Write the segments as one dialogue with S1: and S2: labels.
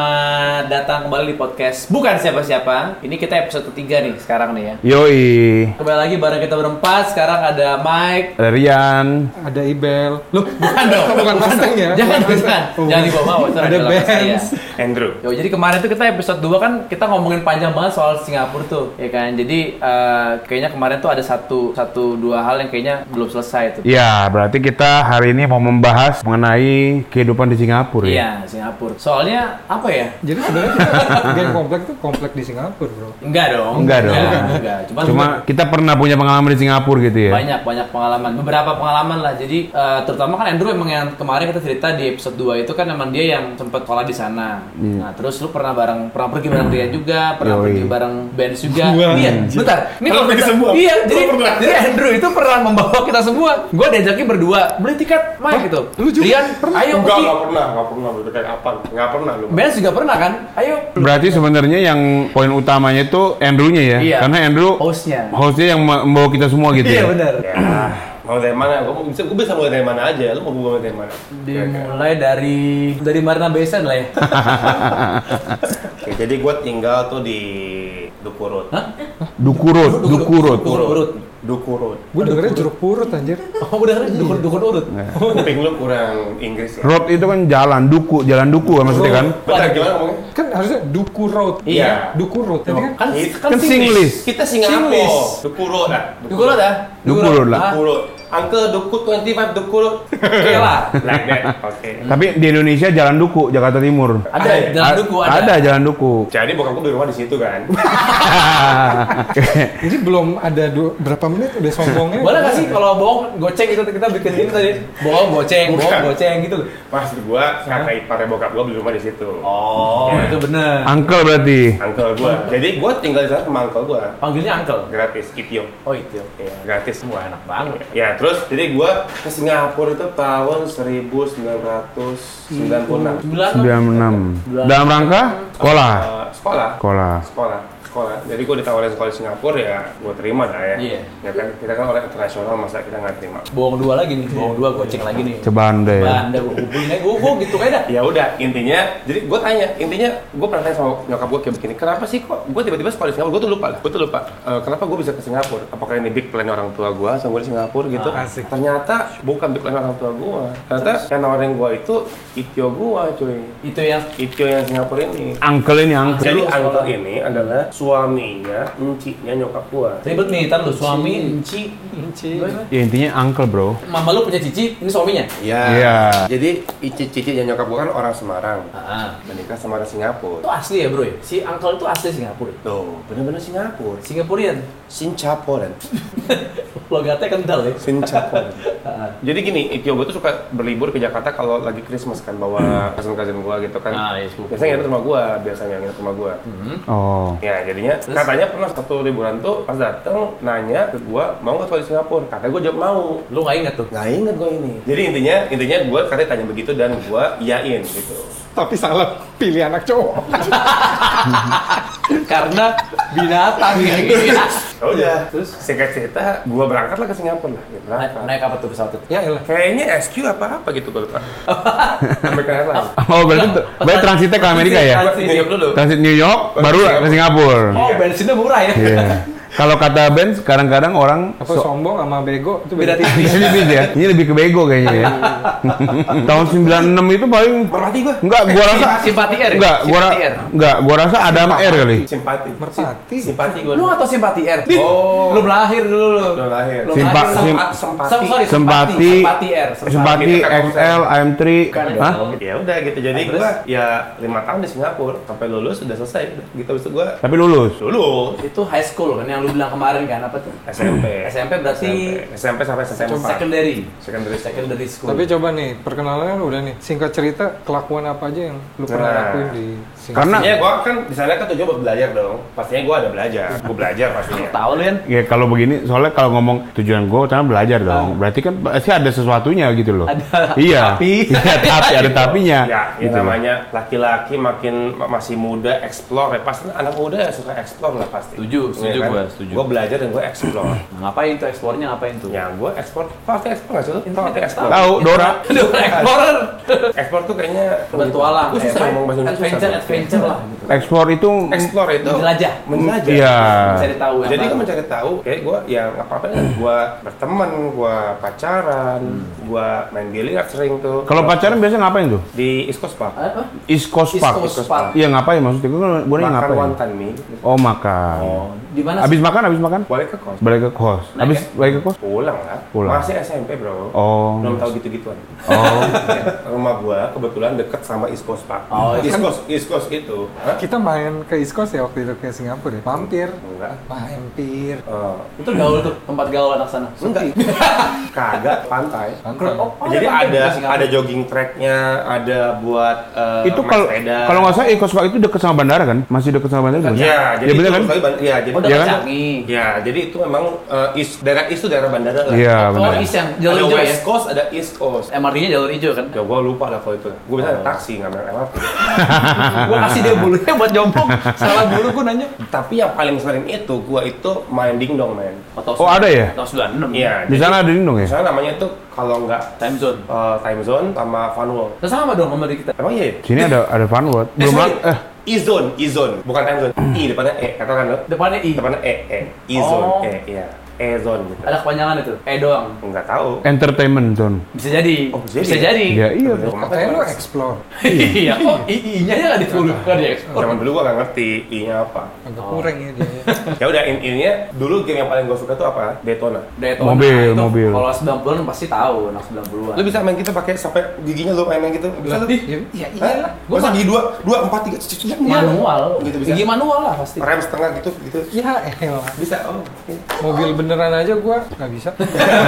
S1: Selamat datang kembali di podcast Bukan Siapa-Siapa Ini kita episode ketiga nih sekarang nih ya
S2: Yoi,
S1: Kembali lagi bareng kita berempat Sekarang ada Mike
S2: ada Rian.
S3: ada Ibel. Loh,
S1: Bukan dong
S3: bukan Mustang ya?
S1: Jangan,
S3: Bukan.
S1: jangan
S3: Oh.
S1: Jangan dibawa-bawa itu
S3: Ada
S1: adalah kata saya.
S3: Benz.
S4: Andrew.
S1: iya. Yo, jadi kemarin tuh kita episode 2 kan kita ngomongin panjang banget soal Singapura tuh ya kan. Jadi eh, kayaknya kemarin tuh ada satu satu dua hal yang kayaknya belum selesai tuh.
S2: Ya, berarti kita hari ini mau membahas mengenai kehidupan di Singapura ya.
S1: Iya, Singapura. Soalnya apa ya?
S3: Jadi sebenarnya kita game komplek tuh komplek di Singapura, Bro.
S1: Enggak dong.
S2: Enggak dong.
S1: enggak. Cuman
S2: Cuma kita pernah punya pengalaman di Singapura gitu ya.
S1: Banyak, banyak pengalaman. Beberapa pengalaman lah. Jadi eh, terutama kan Andrew emang yang kemarin kita cerita di episode 2 itu kan emang dia yang sempat sekolah di sana. Nah, terus lu pernah bareng pernah pergi bareng dia juga, pernah
S2: Iya. Yoi.
S1: pergi bareng Benz juga.
S3: Gua.
S1: Iya, bentar. Ini
S4: Pernah pergi
S1: bentar.
S4: semua.
S1: Iya,
S4: Gua
S1: jadi,
S4: pernah.
S1: jadi Andrew itu pernah membawa kita semua. Gua diajakin berdua beli tiket main gitu.
S3: Lu juga
S1: Rian, ayo
S4: Enggak,
S1: pergi.
S4: enggak pernah, enggak pernah berdekat apa? Enggak pernah lu.
S1: Benz juga pernah kan? Ayo.
S2: Berarti sebenarnya yang poin utamanya itu Andrew-nya ya.
S1: Iya.
S2: Karena Andrew
S1: Hostnya.
S2: hostnya yang me- membawa kita semua Oh, gitu
S1: Iya
S2: ya.
S1: benar.
S4: Ya, mau dari mana? Gua bisa gua bisa mulai dari mana aja. Lu mau gua mulai dari mana? Oke,
S1: Dimulai dari dari Marina Bay Sand lah ya.
S4: Oke, jadi gua tinggal tuh di Dukurut.
S1: Hah?
S2: Dukurut, Oh, dukurut.
S1: Dukurut. Urut.
S4: Dukurut.
S3: Gue dengernya jeruk purut anjir.
S1: Oh, udah dukun dukun urut.
S4: Kuping lu kurang Inggris ya.
S2: Road itu kan jalan, duku, jalan duku maksudnya kan.
S4: Bentar, gimana ngomongnya?
S3: Kan harusnya Duku Road.
S4: Iya.
S3: Duku Road. Tadi kan
S1: Kan
S2: Kan Singlish.
S4: Kita Singapura.
S1: Singlish.
S4: Dukurut lah.
S1: Dukurut ya?
S2: Dukurut lah.
S1: Ah,
S4: Dukurut. Uncle Dukut 25 Dukurut.
S1: Oke lah.
S4: Like that. Oke.
S2: Tapi di Indonesia jalan duku, Jakarta Timur.
S1: Ada
S4: Ada.
S1: jalan duku ada.
S2: ada jalan duku.
S4: Jadi bokap gua di rumah di situ kan.
S3: jadi belum ada du- berapa menit udah sombongnya.
S1: Iya. Boleh nggak sih kalau bohong goceng itu kita bikin ini tadi bohong goceng bohong
S4: Bukan.
S1: goceng gitu. loh.
S4: Pas gua kakak iparnya bokap gua beli rumah di situ.
S1: Oh itu bener.
S2: Uncle berarti.
S4: Uncle gua. Jadi gua tinggal di sana sama uncle gua.
S1: Panggilnya uncle.
S4: Gratis, Kipio.
S1: Oh itu.
S4: Iya, gratis.
S1: Wah enak banget.
S4: Ya, terus jadi gua ke Singapura itu tahun 1996.
S1: Sembilan.
S2: 96. Dalam rangka sekolah.
S4: Eh, sekolah.
S2: Sekolah.
S4: Sekolah. Sekolah. Jadi gua ditawarin sekolah di Singapura ya, gua terima lah ya.
S1: Iya.
S4: Ya kan kita kan orang internasional masa kita nggak terima.
S1: Bohong dua lagi nih. Bohong dua goceng lagi nih.
S2: Cobaan deh.
S1: Bahan dah gue hubungin aja. Gue gue gitu kayak dah.
S4: Ya udah, intinya jadi gua tanya, intinya gua pernah tanya sama nyokap gua kayak begini, kenapa sih kok gua tiba-tiba sekolah di Singapura? Gua tuh lupa lah, gua tuh lupa. Eh, kenapa gua bisa ke Singapura? Apakah ini big plan orang tua gua sama gua di Singapura gitu?
S1: Ah,
S3: asik.
S4: Ternyata bukan big plan orang tua gua. Ternyata yang nawarin gua itu itio gua, cuy.
S1: Itu yang
S4: Itio yang Singapura ini.
S2: Uncle ini uncle.
S4: Jadi
S1: Sekolah.
S4: uncle ini adalah suaminya, enciknya nyokap gua.
S1: ribet nih. Ntar lu suami, Enci,
S3: Inci.
S2: Ya intinya uncle bro.
S1: Mama lu punya cici, ini suaminya.
S4: Iya.
S2: Iya.
S4: Jadi cicitnya nyokap gua kan orang Semarang.
S1: Ah,
S4: Menikah sama orang
S1: itu
S4: Singapura.
S1: asli ya bro ya. Si uncle itu asli Singapura.
S4: Tuh, bener-bener Singapura.
S1: Singaporean.
S4: Singaporean.
S1: Logatnya kental ya.
S4: Singaporean.
S1: Ah,
S4: Jadi gini, Itio gue tuh suka berlibur ke Jakarta kalau lagi Christmas kan bawa cousin-cousin gue gitu kan.
S1: Ah, iya, sepupu. Hmm.
S4: biasanya nginep rumah gue, biasanya nginep rumah gue.
S2: Oh.
S4: Ya jadinya
S1: Terus?
S4: katanya pernah satu liburan tuh pas dateng nanya ke gue mau nggak sekolah di Singapura? Katanya gue jawab mau.
S1: Lu nggak inget tuh?
S4: Nggak inget gue ini. Jadi intinya intinya gue katanya tanya begitu dan gue iyain gitu.
S3: Tapi salah pilih anak cowok.
S1: Karena binatang ya. gitu
S2: Iya.
S1: ya.
S4: Ya udah.
S1: Terus?
S4: Terus singkat cerita gue berangkat lah ke Singapura lah. Gitu,
S1: Na-
S4: berangkat.
S1: naik apa tuh pesawat itu?
S3: Ya elah.
S4: Kayaknya SQ apa apa gitu gue lupa. Sampai ke Airline.
S2: Oh berarti berarti transitnya ke Amerika ya?
S1: Transit New York dulu.
S2: Transit New York, baru ke Singapura.
S1: Oh, bensinnya murah ya.
S2: Iya. Kalau kata Ben, kadang-kadang orang
S3: Apa
S2: so-
S3: sombong sama bego itu
S1: Beda
S3: beda.
S1: tipis.
S2: ini lebih ya. Ini lebih ke bego kayaknya ya. Tahun 96 itu paling
S4: Merpati gue.
S2: enggak gua rasa
S1: Simpati R. ya?
S2: enggak gua ra-
S1: Simpati R.
S2: enggak gua rasa ada sama R kali.
S4: Simpati.
S3: Merpati.
S4: Simpati gue.
S1: Lu atau simpati R?
S4: Oh.
S1: Belum lahir dulu lu.
S4: Belum lahir.
S1: Belum
S2: Simpa-
S1: lahir.
S2: sim-
S1: Sempati. Sem- sorry,
S2: Sempati
S1: Sempati R.
S2: Sempati
S4: Kita kan
S2: XL IM3. Hah?
S4: ya udah gitu jadi
S1: Ah, Terus?
S4: gua ya lima tahun di Singapura sampai lulus udah selesai udah. gitu abis itu gua
S2: Tapi lulus.
S4: lulus
S1: Itu high school kan yang lu bilang kemarin kan apa tuh?
S4: SMP
S1: SMP berarti
S4: SMP, SMP sampai SMP
S1: secondary.
S4: secondary secondary
S1: Secondary school.
S3: Tapi coba nih, perkenalan kan udah nih. Singkat cerita, kelakuan apa aja yang lu pernah
S4: Nah.
S3: lakuin di Singapura?
S2: Karena
S4: Pastinya gua kan di sana kan tujuan buat belajar dong. Pastinya gua ada belajar. Gua belajar pastinya.
S1: tahu lu kan?
S2: Ya kalau begini, soalnya kalau ngomong tujuan gue utama belajar
S4: Ah.
S2: dong. Berarti kan pasti ada sesuatunya gitu loh.
S1: Ada
S2: Iya.
S1: tapi.
S2: Iya, tapi ada tapinya.
S4: Ya, yang
S2: gitu loh.
S4: namanya laki-laki makin ma- masih muda explore ya. Pasti anak muda suka explore lah pasti.
S1: Setuju,
S4: Iya
S1: setuju
S4: kan?
S1: gua.
S2: setuju.
S4: Gue belajar dan gue explore.
S1: Nah, ngapain tuh ekspornya ngapain tuh?
S4: ya gue ekspor, pasti ekspor nggak sih lu? Pasti ekspor.
S2: Tahu Dora?
S1: Aduh, eksporer.
S4: Ekspor tuh kayaknya
S1: Bertualang.
S4: Gue susah ngomong bahasa Indonesia.
S1: Adventure,
S4: susah gua.
S1: adventure lah.
S2: Ekspor itu
S4: Explore itu
S1: Menjelajah.
S4: Menjelajah.
S2: Iya.
S1: Cari tahu yang
S4: Ah. Jadi kan
S1: baru.
S4: gue mencari tahu, kayak gue ya nggak apa-apa kan gue berteman, gue pacaran, gue main biliar sering tuh.
S2: Kalau pacaran biasanya ngapain tuh?
S4: di East Coast Park,
S1: Apa?
S2: East Coast
S1: East
S2: Park.
S1: Coast Park.
S2: Iya ngapain maksudnya? Gue gue nanya
S4: makan
S2: ngapain?
S4: wonton mie,
S2: Oh makan.
S1: Di mana?
S2: Abis makan, abis makan?
S4: balik ke kos,
S2: Balik ke kos.
S1: Naik
S2: Abis
S4: kan?
S2: balik ke kos?
S4: pulang lah.
S2: Pulang.
S4: Masih SMP bro,
S2: Oh.
S4: belum tahu gitu-gituan. Ya,
S2: Oh.
S4: Rumah gue kebetulan deket sama East Coast Park.
S1: Oh,
S4: East Coast, East Coast itu. Hah?
S3: Kita main ke East Coast ya waktu itu ke Singapura ya. Mampir.
S4: Enggak.
S3: Mampir.
S4: Eh,
S1: Itu gaul tuh, tempat gaul anak sana.
S4: enggak. Kagak pantai.
S3: Pantai.
S4: Jadi ada ada jogging tracknya, ada buat eh,
S2: itu
S4: main
S2: kalau
S4: sepeda.
S2: kalau nggak salah East Coast Park itu dekat sama bandara kan? Masih dekat sama bandara? kan?
S4: Iya, jadi
S2: ya, bener
S4: itu
S2: kan?
S4: maksudnya ban- Iya, jadi
S1: Oh,
S2: Iya
S1: dekat
S2: kan?
S1: Canggih.
S4: Iya, jadi itu memang eh, east, daerah east itu daerah bandara lah.
S2: Iya benar.
S1: Oh, East yang
S4: Ada
S1: jalur hijau ya?
S4: west coast, ada east coast.
S1: MRT-nya jalur hijau kan?
S4: Ya gua lupa lah kalau itu. Gua biasanya naik taksi nggak naik MRT.
S1: Gua kasih dia bulunya buat jomplong. Salah bulu gua nanya.
S4: Tapi yang paling sering itu gua itu main dingdong man.
S2: Oh, ada ya?
S1: Tahun 96.
S4: Iya.
S2: Di
S4: jadi
S2: sana ada dindong ya?
S4: Misalnya namanya itu kalau nggak
S1: Time zone.
S4: eh, time zone sama fun world.
S1: Nah, sama dong sama kita.
S4: Emang iya? ya?
S2: Sini ada ada Funwood.
S4: Eh,
S2: Belum
S4: sorry.
S2: lagi- eh
S4: E-zone, E-zone. Bukan time zone. I depannya E, kata kan lo?
S1: Depannya I.
S4: Depannya E, E. E-zone,
S1: Oh.
S4: E, iya. E-zone gitu.
S1: Ada kepanjangan itu. Eh doang.
S4: Nggak tahu.
S2: entertainment zone.
S1: Bisa jadi.
S4: Oh, bisa jadi.
S1: Bisa jadi.
S2: Ya Eh, iya.
S3: Katanya lu explore.
S1: Iya. Oh, I-nya nya nggak ditulis
S4: Iya.
S1: kan di ekspor.
S4: Zaman dulu gua nggak ngerti I-nya apa.
S3: Agak
S1: Oh.
S3: kurang ya dia.
S4: Ya udah in- intinya dulu game yang paling gue suka tuh apa? Daytona.
S1: Daytona
S2: Mobil,
S1: itu
S2: mobil.
S1: Kalau 90-an pasti tahu, anak 90-an.
S4: Lu bisa main gitu pakai sampai giginya lu main main gitu. Bisa tuh.
S3: Iya.
S1: Iya, iyalah.
S4: Hah?
S1: Gua Iya,
S4: Masa gigi dua, dua, empat, tiga, cucu yang
S1: manual. Iya,
S4: Gitu bisa.
S1: Gigi manual lah pasti.
S4: Rem setengah gitu, gitu.
S3: Ya elah.
S4: Bisa, oh. oke.
S3: Mobil beneran aja gua nggak bisa.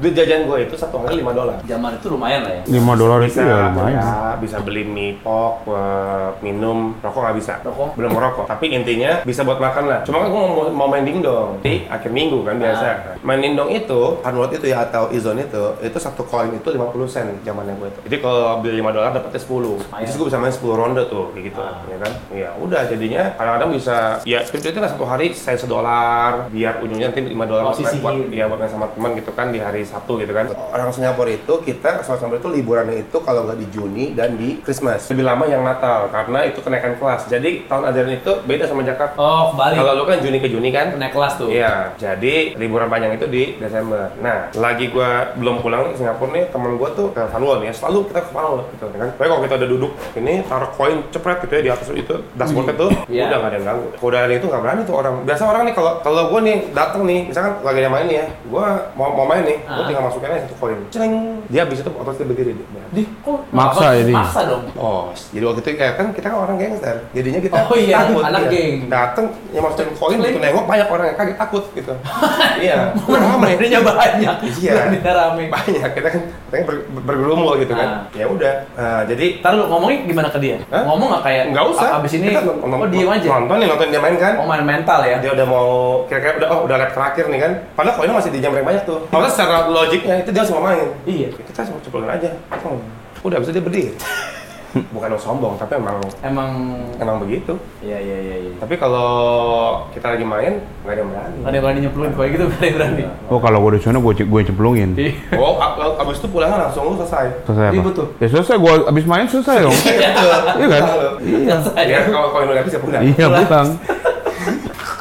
S4: Duit jajan gue itu satu hari lima dolar.
S1: Zaman itu lumayan lah ya.
S2: 5 dolar itu
S4: Bisa,
S2: ya lumayan.
S4: bisa, bisa beli mie pok, eh, minum, rokok nggak bisa.
S1: Rokok?
S4: Belum merokok. Tapi intinya bisa buat makan lah. Cuma kan gue mau, mau main dingdong di akhir minggu kan biasa.
S1: Ah.
S4: Main dingdong itu, Hanwot itu ya atau Izon itu, itu satu koin itu 50 sen zamannya gue itu. Jadi kalau beli 5 dolar dapetnya 10.
S1: Lumayan.
S4: Terus gue bisa main 10 ronde tuh, kayak gitu.
S1: Ah.
S4: Ya kan? Ya udah jadinya kadang-kadang bisa, ya itu itu kan satu hari saya sedolar, biar ujungnya nanti 5 dolar
S1: Oh,
S4: buat main- buat,
S1: sisihin.
S4: ya buat main sama teman gitu kan di hari Sabtu gitu kan. Orang Singapura itu kita orang Singapura itu liburannya itu kalau nggak di Juni dan di Christmas. Lebih lama yang Natal karena itu kenaikan kelas. Jadi tahun ajaran itu beda sama Jakarta.
S1: Oh, kebalik.
S4: Kalau lu kan Juni ke Juni kan?
S1: Naik kelas tuh.
S4: Iya, jadi liburan panjang itu di Desember. Nah, lagi gua belum pulang nih ke Singapura nih, teman gua tuh ke Funwon ya, selalu kita ke Funwon gitu ya kan. Tapi kalau kita udah duduk, ini taruh koin cepret gitu ya di atas itu, dashboardnya tuh
S1: Iya.
S4: udah nggak ada yang ganggu. Kodaan itu nggak berani tuh orang. Biasa orang nih kalau kalau gua nih datang nih, misalkan lagi ada yang main nih ya, gua mau mau main nih, gua
S1: Ah.
S4: tinggal masukin aja satu koin, cereng, dia habis itu otomatis dia berdiri. dia.
S1: Dih, kok apa?
S2: Maksa jadi.
S1: Maksa dong.
S4: Oh, jadi waktu itu kayak kan kita kan orang gangster. Jadinya kita
S1: Oh iya, anak
S4: Iya.
S1: geng.
S4: Dateng yang masukin koin gitu nengok banyak orang yang kaget takut gitu. iya. Ramai.
S1: Mainnya banyak.
S4: Iya.
S1: Mainnya rame.
S4: Banyak kita kan kita kan ber- ber- bergerombol gitu
S1: Ah.
S4: kan. Ya udah. Nah, jadi
S1: Ntar lu ngomongnya gimana ke dia?
S4: Hah?
S1: Ngomong nggak kayak
S4: nggak usah.
S1: Abis ini,
S4: Kita nonton-
S1: oh diem aja.
S4: Nonton nih, nonton dia main kan.
S1: Oh main mental ya?
S4: Dia udah mau kira-kira udah oh udah lap terakhir nih kan. Padahal koinnya masih di jam yang banyak tuh. Maksudnya secara logiknya itu dia harus mau main.
S1: Iya.
S4: Kita cuma cepelin aja. Oh. Udah bisa dia berdiri. Bukan mau sombong, tapi emang
S1: Emang,
S4: emang begitu.
S1: iya iya iya. iya.
S4: Tapi kalau kita lagi main, nggak ada yang berani.
S1: Nggak ada yang berani nyemplungin kayak gitu, nggak ada yang berani.
S2: Oh kalau gue di sana gue gue cemplungin.
S1: Iya.
S4: Oh, ab- ab- abis itu pulang langsung lu selesai.
S2: Selesai apa?
S1: Ribut tuh.
S2: Ya selesai gue abis main selesai dong. Iya kan?
S4: Iya.
S1: Selesai.
S4: Ya kalau koin udah habis ya pulang.
S2: Iya bang.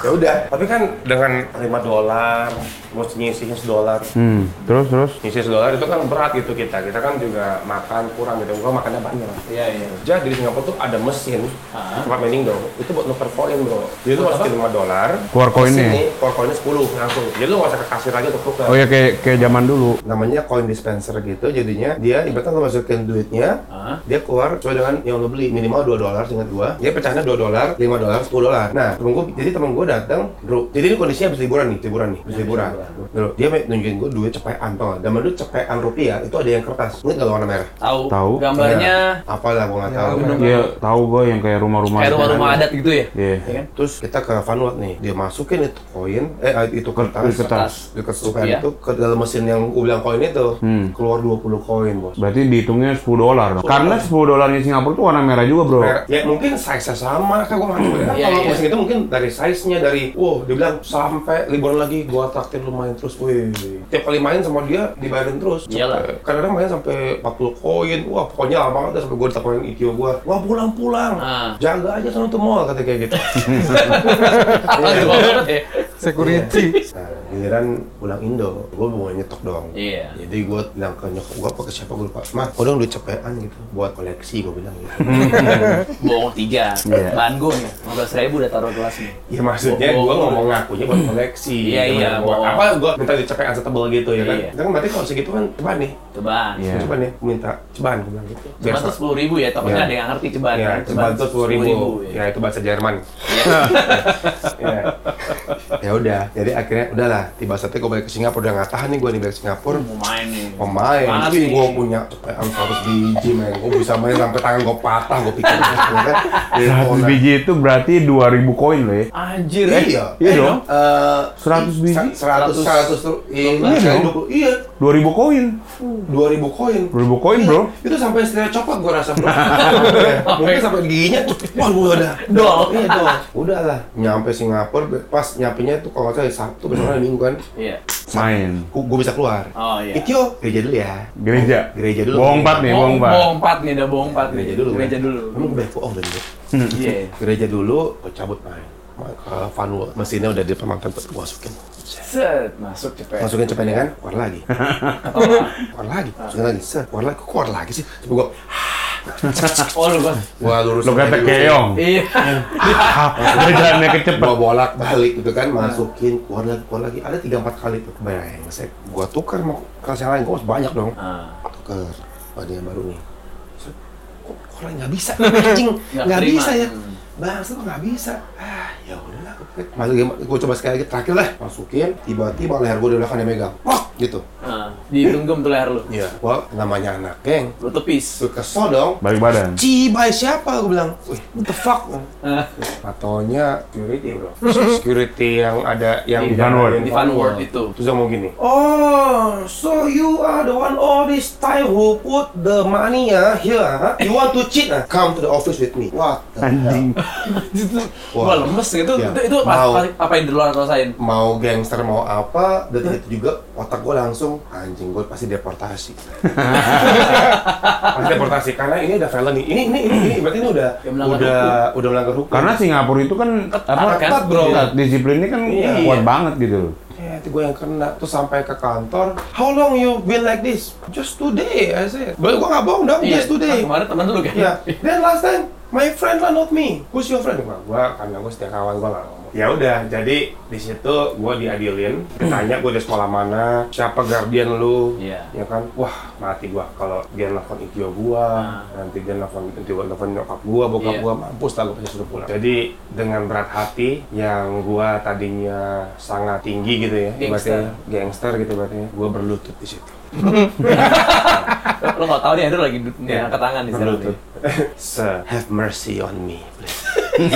S4: Ya udah. Tapi kan dengan 5 dolar, mau nyisihin sedolar.
S2: Hmm. Terus terus.
S4: Nyisi sedolar itu kan berat gitu kita. Kita kan juga makan kurang gitu. Gua makannya banyak.
S1: Iya iya.
S4: Jadi di Singapura tuh ada mesin
S1: Ah.
S4: tempat mining dong. Itu buat nuker koin bro. Jadi lu masukin 5 dolar.
S2: Keluar koinnya.
S4: mesin nih, Keluar koinnya 10 langsung. Jadi lu nggak usah ke kasir lagi untuk nuker.
S2: Oh ya kayak kayak zaman dulu.
S4: namanya coin dispenser gitu jadinya dia ibaratnya lo masukin duitnya
S1: Hah?
S4: dia keluar sesuai dengan yang lo beli minimal 2 dolar seingat gua dia pecahnya 2 dolar 5 dolar 10 dolar nah temen gua jadi temen gua datang bro jadi ini kondisinya habis liburan nih liburan nih habis liburan orang. Dulu, dia nunjukin gue duit cepean tau nggak? Zaman dulu cepean rupiah itu ada yang kertas. Ingat nggak warna merah?
S1: Tahu.
S2: Tahu.
S1: Gambarnya
S4: Ya, apalah gue nggak tahu.
S2: Iya, tahu gue yang kayak rumah-rumah.
S1: kayak rumah-rumah adat gitu ya.
S2: Iya.
S1: Ya kan?
S4: Nah, Terus kita ke Vanuatu nih, dia masukin itu koin, eh itu kertas,
S2: Kertas.
S4: di kesukaan
S1: Iya.
S4: itu ke dalam mesin yang gue bilang koin itu, keluar 20 koin bos.
S2: Berarti dihitungnya 10 dolar. dong. Karena 10 dolarnya Singapura tuh warna merah juga, Bro.
S4: Mer- Ya mungkin size-nya sama, kan gue nggak tahu. Kan
S1: Iya,
S4: kalau
S1: iya.
S4: mesin itu mungkin dari size-nya, dari, wow, dia bilang sampai liburan lagi, gue traktir lu main terus, wih. Tiap kali main sama dia, dibayarin terus.
S1: Iyalah.
S4: Sampai- Kadang-kadang main sampai 40 koin, wah pokoknya lama banget dah sampai gue ditakoin IQ gue. Wah pulang-pulang,
S1: Ah.
S4: jaga aja sama tuh mall, kata kayak gitu.
S1: Aduh, banget ya.
S3: security
S4: Nah, giliran pulang Indo, gue mau nyetok doang.
S1: Iya.
S4: Jadi gue bilang ke nyokap gue apa ke siapa gue lupa. Mah, kau dong duit cepean gitu, buat koleksi gue bilang gitu.
S1: Bohong tiga.
S2: Iya.
S1: Bahan gue nih. 15 ribu udah taruh kelasnya.
S4: ya maksudnya
S1: Oh,
S4: gue
S1: oh.
S4: ngomong ngakunya buat koleksi. gitu,
S1: Iya, iya,
S4: Buat
S1: oh.
S4: apa gue minta duit cepean setebel gitu ya kan?
S1: Iya.
S4: Kan berarti kalau segitu kan ceban nih.
S1: Cobaan.
S2: Iya.
S4: Ceban ya, gue minta ceban gue bilang gitu.
S1: Ceban tuh
S4: Biasa.
S1: 10 ribu ya, takutnya
S4: Iya.
S1: ada yang ngerti ceban.
S4: Ya,
S1: kan?
S4: ceban tuh sepuluh ribu.
S1: ya.
S4: Ya itu bahasa Jerman.
S1: Iya.
S4: ya. ya udah, jadi akhirnya udahlah. Tiba saatnya gue balik ke Singapura udah nggak tahan nih gue nih balik ke Singapura.
S1: Mau main nih.
S4: pemain
S1: Mati.
S4: tapi gue punya am 100 biji men gue bisa main sampai tangan gue patah gue pikir Ya kan? Iya,
S2: 100 biji itu berarti 2000 koin loh ya.
S1: Anjir.
S4: iya
S2: Iya dong.
S4: Eh,
S2: 100 biji,
S4: sa- 100 100 tuh iya
S2: Iya dong.
S4: 20 iya
S2: 2000 koin.
S4: 2000 koin
S2: 2000 koin,
S4: Iya,
S2: bro.
S4: itu sampai setelah copot gue rasa bro mungkin sampai giginya wah gue udah
S1: Dol.
S4: iya dong udah lah nyampe Singapura pas nyampe nya tuh kalau nggak salah Sabtu besoknya ada mingguan
S1: Iya.
S2: Main.
S4: gue kan, bisa keluar
S1: Oh iya.
S4: Ikyo gereja dulu ya
S2: Gereja.
S4: gereja dulu
S2: Bohong empat nih, bohong empat.
S1: Bohong empat nih, udah bohong empat nih.
S4: gereja dulu
S1: Gereja dulu.
S4: emang gue banyak bohong dari dulu
S1: Iya.
S4: gereja dulu gue cabut main Ma- ke Vanuatu mesinnya udah di pemantan gue masukin
S1: Set, masuk cepet.
S4: masukin cepet ya kan
S1: Iya.
S4: keluar lagi keluar lagi masukin lagi set keluar lagi Kok keluar lagi sih tapi gue
S1: Oh lu kan.
S4: gue lurus
S2: Lo kata keong.
S1: Iya.
S2: Udah jalannya kecepet.
S4: gue bolak balik gitu kan masukin keluar lagi keluar lagi ada tiga empat kali tuh bayangin saya gue tukar mau kelas yang lain gue banyak dong
S1: Ah.
S4: tukar ada yang baru nih Set, kok orang nggak bisa anjing
S1: Nggak
S4: nggak
S1: terima.
S4: bisa ya
S1: Hmm.
S4: bangsa kok nggak bisa ah ya udahlah gue pikir. masuk game gue coba sekali lagi terakhir lah masukin tiba-tiba leher gue di belakang yang megang wah gitu
S1: Ah. Digenggam tuh leher lu.
S4: iya gua namanya anak geng
S1: Lu tepis.
S4: gue kesel dong
S2: Balik badan.
S4: Cibai siapa? Gue bilang, wih, what the fuck?
S1: Ah.
S4: Patonya security bro Security yang ada, yang
S2: Di Vanward.
S4: yang
S1: Di Van Ward itu.
S4: Terus dia ngomong gini. Oh, so you are the one all this time who put the money ah here. Huh? You want to cheat? ah? Come to the office with me. What? the hell?
S2: Anjing.
S1: Wah lemes gitu.
S4: Iya.
S1: Itu, itu pas,
S4: Mau.
S1: pas- apa yang di luar rasain?
S4: Mau gangster mau apa, dan itu juga otak gue langsung anjing gue pasti deportasi. pasti deportasi karena ini udah felony. Ini ini ini, ini berarti ini udah
S1: Ya, melanggar
S4: udah udah melanggar hukum.
S2: Karena Singapura itu kan apa
S1: kan,
S2: ketat,
S1: bro.
S2: ketat. disiplinnya kan
S4: Iya.
S2: kuat banget gitu. loh.
S4: Eh, itu gue yang kena tuh sampai ke kantor. How long you been like this? Just today, I said. Gue gak bohong dong, just
S1: Ah,
S4: today.
S1: Kemarin teman lu kan.
S4: Ya, then last time my friend lah not me. Who's your friend? Gua, gua karena gua setia kawan gua nggak ngomong. Ya udah, jadi di situ gua diadilin, ditanya gua dari sekolah mana, siapa guardian lu,
S1: Iya.
S4: ya kan? Wah mati gua kalau dia nelfon ikio gua, nanti dia nelfon nanti gua nelfon nyokap gua, bokap
S1: Ah. Iya.
S4: gua mampus lah gua pasti suruh pulang. Jadi dengan berat hati yang gua tadinya sangat tinggi gitu ya,
S1: Gangster.
S4: ibaratnya gangster gitu ibaratnya, gua berlutut di situ.
S1: Lu nggak tahu nih, Andrew lagi du-
S4: Iya.
S1: ngangkat tangan di sana.
S4: Berlutut. Sir, have mercy on me, please.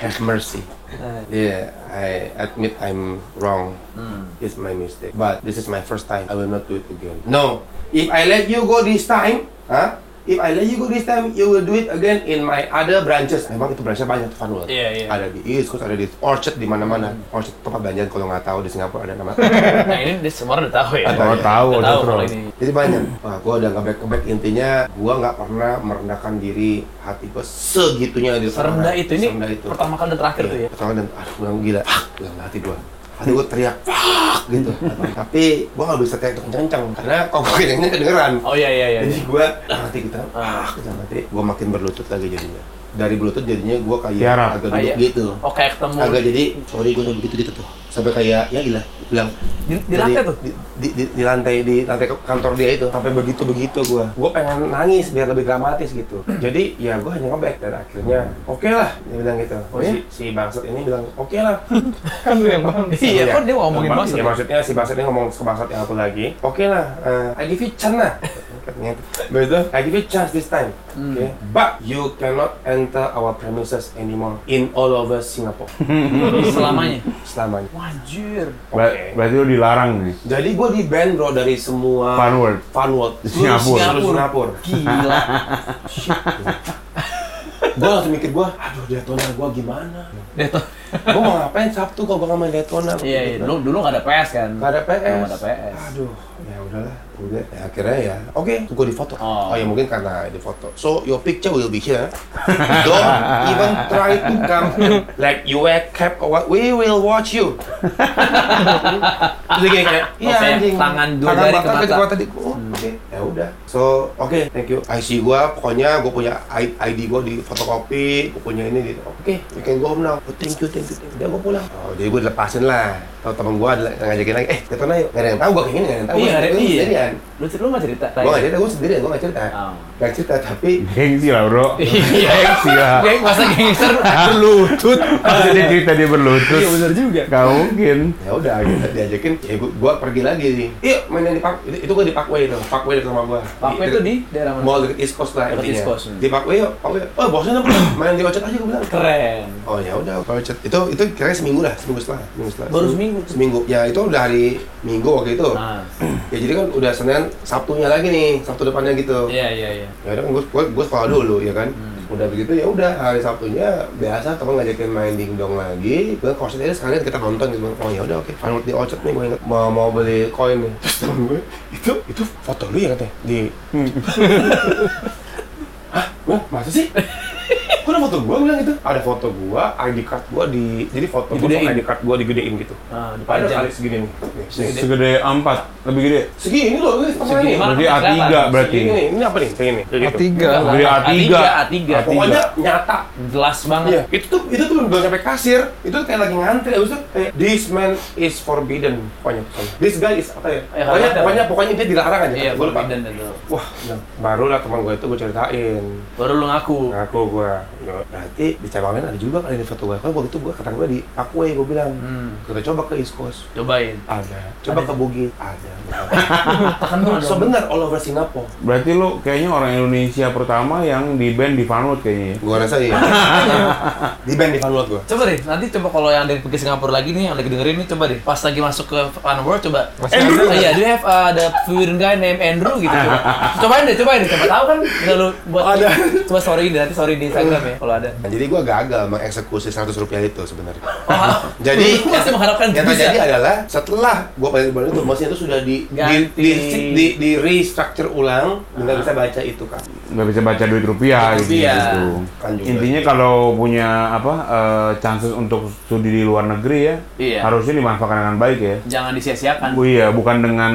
S4: have mercy.
S1: Eh.
S4: Yeah, I admit I'm wrong.
S1: Hmm.
S4: It's my mistake. But this is my first time. I will not do it again. No. If I let you go this time, huh? If I let you go this time, you will do it again in my other branches. Memang itu branchnya banyak tuh Vanwall.
S1: Iya, iya. Hmm.
S4: Ada di East Coast, ada di Orchard di mana-mana. Orchard tempat belanjaan kalau nggak tahu di Singapura ada nama.
S1: Nah ini dia semua udah tahu ya.
S2: Kalau
S4: Iya.
S2: tahu
S1: Udah
S2: ada
S1: tahu kalau
S2: terus.
S1: ini.
S4: Jadi banyak. Wah, gue udah nggak back to back intinya, gue nggak pernah merendahkan diri hati gue segitunya di sana.
S1: Serendah itu ini
S4: Serendah itu.
S1: pertama kali dan terakhir tuh
S4: Iya,
S1: ya.
S4: pertama dan aduh gue gila, ah, dalam hati gue. Hati gue teriak, fuck gitu. Tapi gue nggak bisa teriak kencang-kencang karena kalau gue kencangnya kedengeran.
S1: Oh iya iya iya.
S4: gitu. Jadi gue dalam hati kita, ah, dalam hati gue makin berlutut lagi jadinya. dari bluetooth jadinya gue kayak
S2: Tiarap.
S4: agak duduk
S1: Kayak-
S4: gitu
S1: Oh, kayak ketemu.
S4: agak jadi sorry gue begitu gitu tuh sampai kayak ya gila bilang
S1: Di- di
S4: Jadi,
S1: lantai tuh?
S4: di, di, di- di lantai di lantai ke- kantor dia itu sampai begitu begitu gue gue pengen nangis biar lebih dramatis gitu jadi ya gue hanya ngeback dan akhirnya oke lah dia bilang gitu
S1: Oh, iya?
S4: si, si bangsat ini bilang oke lah
S3: kan lu yang paham
S1: Iya,
S4: Iya.
S1: kok dia ngomongin
S4: Bang-
S1: banget.
S4: Ya, maksudnya si Bangsat ini ngomong ke Bangsat yang aku lagi. Oke lah, eh, I give you chance lah. Katanya. Habis itu, I give you chance this time. Okay. But you cannot enter our premises anymore in all over Singapore
S1: Selamanya.
S4: selamanya.
S1: Wajir.
S4: Oke.
S2: Ber- berarti lu dilarang nih.
S4: Jadi gue di ban bro dari semua
S2: Fun world.
S4: Fun world.
S2: Singapura.
S4: Seluruh Singapura.
S1: Gila.
S4: gue langsung mikir gue, aduh Daytona gue gimana?
S1: Dia tuh.
S4: gue mau ngapain Sabtu gue bakal main Daytona.
S1: Iya, iya. Dulu, dulu nggak ada PS kan?
S4: Gak ada PS.
S1: Nggak ada PS.
S4: Aduh, ya udahlah. Udah, ya, akhirnya ya. Oke, gua gue difoto.
S1: Oh.
S4: Oh. ya mungkin karena difoto. So your picture will be here. Don't even try to come like you wear cap or what. We will watch you. Terus dia kayak, iya
S1: Oke,
S4: anjing.
S1: tangan dua jari ke
S4: bakar
S1: mata.
S4: gua tadi. Oh, oke. Ya udah. So, oke, thank you. IC gua pokoknya gua punya I- ID gua di fotokopi, gua punya ini gitu. Oke, you can go home now. Oh, thank you, thank you. Thank you. Udah gua pulang. Oh, jadi gua dilepasin lah. Tahu temen gua ada yang ngajakin lagi, "Eh, Daytona yuk." Gak ada yang tahu gua kayak gini, gak ada yang tahu.
S1: Iya,
S4: Gua
S1: ada-
S4: sendiri-
S1: iya.
S4: sendirian.
S1: Lu cerita, lu nggak cerita?
S4: Gua gak cerita, gua sendirian, gua gak cerita.
S1: Oh.
S4: Gak cerita, tapi
S2: Gengsi lah bro.
S1: Iya.
S2: Gengsi lah.
S1: Geng, masa gangster?
S2: Berlutut. Masa dia cerita dia berlutut.
S1: Iya, bener juga.
S2: Gak mungkin.
S4: ya udah akhirnya diajakin ya gua, gua pergi lagi nih yuk main yang di park itu, itu gua di parkway itu parkway dekat rumah gua
S1: Parkway itu di daerah mana?
S4: mall deket east coast lah
S1: Deket
S4: intinya
S1: East Coast, hmm.
S4: di parkway yuk parkway oh bosnya apa main di ocet aja gua bilang
S1: Keren.
S4: Oh ya udah, kalau chat itu itu kira seminggu lah, seminggu setelah, seminggu setelah.
S1: Baru seminggu?
S4: Seminggu. Ya itu udah hari Minggu waktu itu.
S1: Nah.
S4: Ya jadi kan udah Senin, Sabtunya lagi nih, Sabtu depannya gitu.
S1: Iya, iya, iya.
S4: Ya udah kan gue gue, gue sekolah dulu ya kan. Udah begitu ya udah hari Sabtunya biasa teman ngajakin main dingdong lagi. Gue kosan aja sekalian kita nonton gitu. Oh ya udah oke. Okay. di Ocet nih gue ingat mau mau beli koin nih. Terus temen gue itu itu foto lu ya katanya di. Hah? Gua, masa sih? Kok ada foto gua Gua bilang gitu? Ada foto gua, ID card gua di... Jadi foto gua sama
S1: Digedein.
S4: ID card gua digedein gitu.
S1: Ah,
S4: Ada
S1: dipanjang.
S4: kali segini nih. Nih, segini.
S2: Segede A4. Lebih gede.
S4: Segini loh, ini pertama
S1: Segini
S4: ini.
S1: mah.
S2: Berarti A3 berarti.
S4: Segini, ini apa nih? Segini, kayak gitu.
S3: A3
S2: Beli A3.
S1: A3, A3.
S4: Iya, Pokoknya nyata.
S1: Jelas banget.
S4: Iya, itu tuh itu tuh belum sampai kasir. Itu tuh kayak lagi ngantri, abis itu kayak this man is forbidden pokoknya. This guy is apa ya?
S1: Eh,
S4: Pokoknya
S1: ada.
S4: pokoknya pokoknya dia dilarang aja.
S1: Iya,
S4: Gua lupa.
S1: forbidden dan itu.
S4: Wah, baru lah teman gue itu gue ceritain.
S1: Baru lu ngaku.
S4: Ngaku gue. Berarti di cabangnya ada juga kali di foto gue. Kan waktu itu gue kata gue di Parkway gue bilang.
S1: Hmm.
S4: Kita coba ke East Coast.
S1: Cobain.
S4: Ada. Coba ke Bugis. Ada.
S1: Tahan dulu dong.
S4: Sebenar all over Singapore.
S2: Berarti lu kayaknya orang Indonesia pertama yang di band di Funwood kayaknya ya?
S4: Gue rasa iya. di band di Vanuatu gue.
S1: Coba deh, nanti coba kalau yang dari pergi Singapura lagi nih, yang lagi dengerin nih, coba deh. Pas lagi masuk ke Fun World, coba.
S3: Masih
S1: Andrew? Iya, dia have, uh, ada foreign guy named Andrew gitu. Coba. cobain deh, cobain deh. Coba tahu kan, bisa lu buat.
S4: Ada.
S1: Coba sorry deh, nanti sorry di Instagram ya, kalau ada.
S4: Nah, jadi gue gagal mengeksekusi 100 rupiah itu sebenarnya.
S1: Oh,
S4: Jadi-
S1: lu masih mengharapkan
S4: yang
S1: Kan bisa.
S4: terjadi adalah setelah gua pakai baru itu mesin itu sudah di di,
S1: Ganti. Ah.
S4: di, di, di restructure ulang nggak bisa baca itu kan
S2: Nggak bisa baca duit rupiah gitu.
S1: Rupiah.
S4: Kan juga.
S2: Intinya kalau punya apa eh, chances untuk studi di luar negeri ya,
S1: Iya.
S2: harusnya dimanfaatkan dengan baik ya.
S1: Jangan disia-siakan.
S2: Oh iya, bukan dengan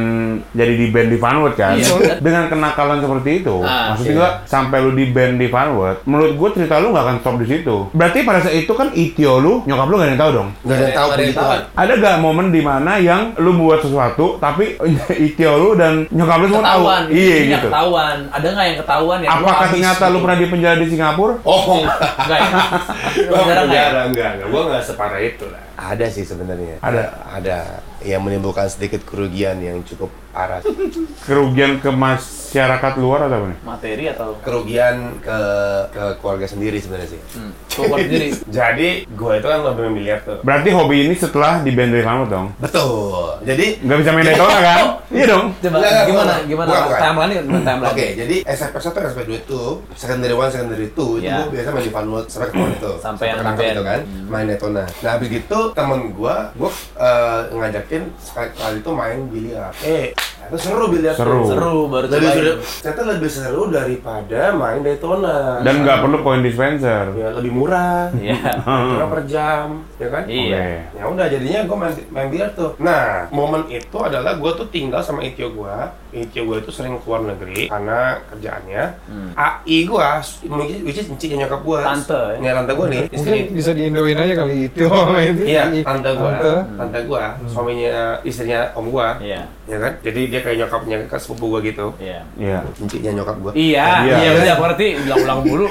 S2: jadi di band di Funwood kan?
S1: Iya.
S2: Dengan kenakalan seperti itu,
S1: Ah,
S2: maksudnya gua, sampai lu di band di Funwood, menurut gue cerita lu nggak akan stop di situ. Berarti pada saat itu kan itio lu, nyokap lu gak ada yang tahu dong.
S4: nggak ada yang tahu
S1: Nggak ada yang
S4: begitu
S1: tahu.
S4: kan
S2: Ada gak momen di mana yang lu buat sesuatu tapi itio lu dan nyokap lu semua tahu?
S1: Ketahuan,
S2: Iya
S1: intinya
S2: gitu.
S1: ketahuan. Ada nggak yang ketahuan ya?
S2: Apakah ternyata lu pernah di penjara di Singapura?
S4: oh
S1: Enggak ya? Jarang
S4: Gua
S1: nggak ya?
S4: penjara, enggak, enggak. Gua enggak separah itu lah. Ada sih sebenarnya.
S2: Ada.
S4: Ada yang menimbulkan sedikit kerugian yang cukup parah.
S2: Kerugian ke masyarakat luar atau apa nih?
S1: Materi atau?
S4: kerugian ke ke keluarga sendiri sebenarnya sih.
S1: Hmm. Keluar sendiri.
S4: Jadi, gua itu kan lebih miliar tuh.
S2: Berarti hobi ini setelah di band di Funwood dong?
S4: Betul. Jadi
S2: Nggak bisa main Daytona kan? Iya dong.
S1: Coba
S4: Nggak, nggak,
S1: gimana?
S4: bukan.
S1: Gimana?
S4: Bukan, bukan.
S1: Timeline-nya gimana timeline?
S4: Oke, jadi eh, SMP 1 SMP 2 itu secondary 1 secondary 2 itu
S1: Ya.
S4: gua biasa main di Funwood Iya. sampai ke mall itu.
S1: Sampai yang
S4: ketangkep
S1: band.
S4: itu kan, main Daytona. Nah, habis gitu temen gua gua eh, ngajakin sekali kali itu main biliar. Eh, Itu seru dilihat
S2: Seru.
S1: Seru baru
S4: Lebih
S1: cobain.
S4: seru, ternyata lebih seru daripada main Daytona.
S2: Dan nggak perlu poin dispenser.
S4: ya, lebih murah.
S1: Iya.
S4: Murah per jam, ya kan?
S1: Iya.
S2: Oke.
S4: Ya udah jadinya gue main, main biliar tuh. Nah, momen itu adalah gue tuh tinggal sama Ikyo gue. Ikyo gue itu sering keluar negeri karena kerjaannya. AI gue, which is encik nyokap gue.
S1: Hmm. Tante, ya?
S4: Ya, tante gue nih.
S3: Mungkin
S4: Istri.
S3: bisa diindoin aja kali itu.
S4: Iya, tante gue.
S3: Tante.
S1: Hmm.
S4: Tante gue, suaminya, istrinya om gue.
S1: Iya.
S4: Ya kan? Jadi dia kayak nyokapnya ke sepupu gue gitu.
S1: Iya.
S2: Iya.
S4: Enciknya nyokap gue.
S1: Iya,
S2: Iya.
S1: iya udah aku ngerti ulang-ulang dulu.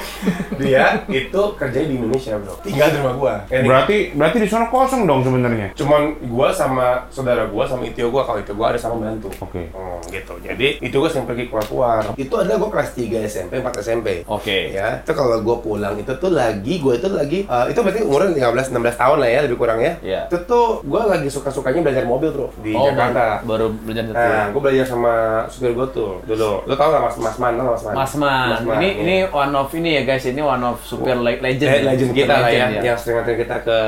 S4: Dia itu kerjanya di Indonesia, bro. Tinggal di rumah gue.
S2: Berarti berarti di sana kosong dong sebenarnya.
S4: cuman gua sama saudara gua sama itio gua kalau itu gua ada sama bantu
S2: Oke.
S4: Hmm, gitu jadi itu gua sering pergi keluar keluar itu adalah gua kelas 3 SMP 4 SMP
S1: Oke.
S4: ya itu kalau gua pulang itu tuh lagi gua itu lagi eh, itu berarti umurnya 15 16 tahun lah ya lebih kurang ya
S1: Iya.
S4: itu tuh gua lagi suka sukanya belajar mobil bro di
S1: Oh,
S4: Jakarta
S1: baru, baru belajar satu.
S4: Nah, gue belajar sama supir gue tuh dulu. Lo tau gak Mas Mas Man? Tau nggak Mas Man?
S1: Mas Man, ini
S4: iya.
S1: ini one of ini ya guys, ini one of super le- legend.
S4: Eh,
S1: ya.
S4: legend
S1: Super
S4: kita lah ya,
S1: legend, iya.
S4: yang sering nganterin kita ke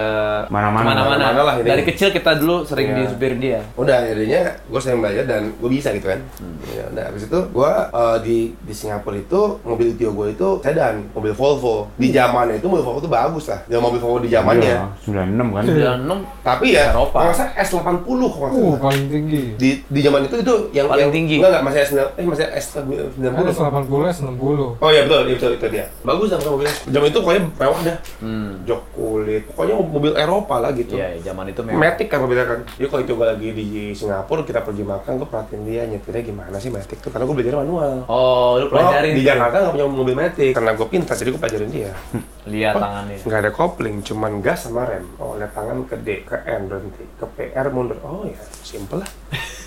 S2: Mana-mana.
S1: Kemana-mana.
S4: Kemana-mana lah ini.
S1: Dari kecil kita dulu sering
S4: Iya.
S1: disupir dia.
S4: udah jadinya gue sering belajar dan gue bisa gitu kan
S1: Hmm.
S4: ya, udah habis itu gue eh, di di Singapura itu mobil tio gue itu sedan mobil Volvo di zamannya itu mobil Volvo itu bagus lah ya mobil Volvo di zamannya
S2: Iya, 96 kan.
S1: Udah enam
S4: tapi ya
S1: Eropa.
S4: kalau nggak salah S80 kalau nggak
S3: Uh,
S4: salah.
S3: paling tinggi.
S4: di di zaman itu itu yang
S1: Paling
S4: yang,
S1: tinggi.
S4: enggak enggak masih S9 eh masih S90
S3: Ada 80 90.
S4: Oh iya betul, iya, betul itu dia. Bagus lah mobilnya. Zaman itu pokoknya mewah dah. Jok kulit. Pokoknya mobil Eropa lah gitu.
S1: Hmm, Iya, zaman itu memang.
S4: Matic kan mobilnya kan. Jadi kalau itu gue lagi di Singapura, kita pergi makan, gue perhatiin dia nyetirnya gimana sih Matic tuh. Karena gue belajar manual.
S1: Oh, lu pelajarin.
S4: Lo di Jakarta nggak punya mobil Matic. Karena gue pintar, jadi gue pelajarin dia.
S1: Lihat tangannya.
S4: Nggak ada kopling, cuman gas sama rem. Oh, lihat tangan ke D, ke N berhenti, ke PR mundur. Oh ya, simple lah.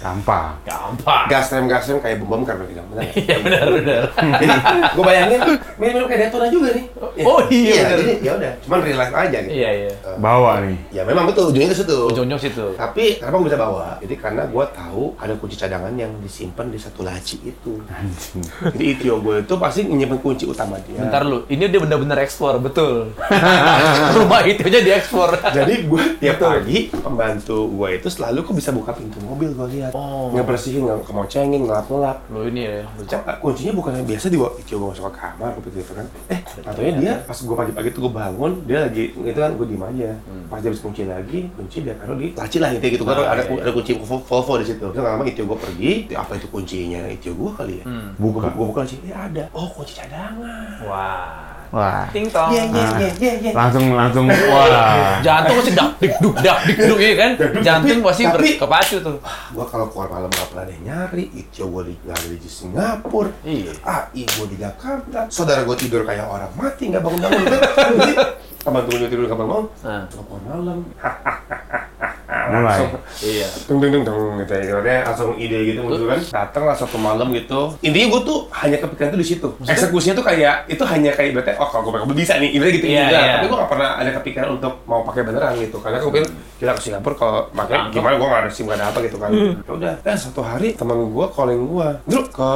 S2: Gampang.
S1: Gampang.
S4: Gas rem, gas rem kayak bom bom kan berarti benar. nggak?
S1: Iya benar benar.
S4: Jadi gue bayangin mirip-mirip kayak Daytona juga nih.
S1: Oh, iya, bener.
S4: jadi ya udah, cuman real life aja gitu.
S1: Iya iya.
S2: Bawa nih.
S4: Ya memang betul ujungnya ke situ.
S1: Ujung-ujung situ.
S4: Tapi kenapa gue bisa bawa? Jadi karena gue tahu ada kunci cadangan yang disimpan di satu laci itu.
S2: Anjing.
S4: Jadi Itio gue itu pasti nyimpen kunci utama dia.
S1: Bentar lu, ini dia benar-benar ekspor, betul. Rumah itu aja diekspor.
S4: Jadi gue tiap pagi pembantu gue itu selalu kok bisa buka pintu mobil gue lihat.
S1: Oh.
S4: Ngebersihin, nggak kemocengin, ngelap-ngelap.
S1: Lu ini ya. lu-
S4: Cak, kuncinya bukan yang biasa di Itio gue masuk ke kamar, gue pikir gitu kan. Eh, katanya dia pas gue pagi-pagi tuh gue bangun, dia lagi itu kan gue diem aja. Pas dia habis kunci lagi, kunci dia taruh di laci lah gitu gitu. Kan
S1: Ah,
S4: ada
S1: iya, iya.
S4: ada kunci Volvo di situ. Terus lama Itio gue pergi, apa itu kuncinya Itio gue kali ya?
S1: Hmm.
S2: Buka.
S4: Gue buka sih, ya ada. Oh, kunci cadangan.
S1: Wah.
S2: Wah.
S1: Ting tong.
S4: Iya, iya, iya, iya, iya.
S2: Langsung langsung wah.
S1: Jantung pasti dak dik duk dak dik duk ya kan. Jantung pasti ber-
S4: Tapi-
S1: kepacu tuh.
S4: Gue kalau keluar malam nggak pernah ada yang nyari, Itio gue di, nggak ada di Singapura,
S1: Iya.
S4: AI gue di Jakarta, saudara gue tidur kayak orang mati, nggak bangun-bangun. Jadi, Teman temen gue tidur nggak bangun,
S1: Nah.
S4: Suka keluar malam,
S2: Mulai.
S1: Iya.
S4: dung dung dung dung gitu ya Akhirnya langsung ide gitu muncul kan datang lah satu malam gitu intinya gue tuh hanya kepikiran tuh di situ eksekusinya tuh kayak itu hanya kayak berarti oh kalau gue bakal bisa nih ibaratnya gitu
S1: Iya,
S4: juga
S1: iya.
S4: tapi gue gak pernah ada kepikiran untuk mau pakai beneran gitu karena gue pikir kita ke Singapura kalau makanya gimana gue gak ada sim gak ada apa gitu kan ya udah dan suatu hari teman gue calling gue Dru ke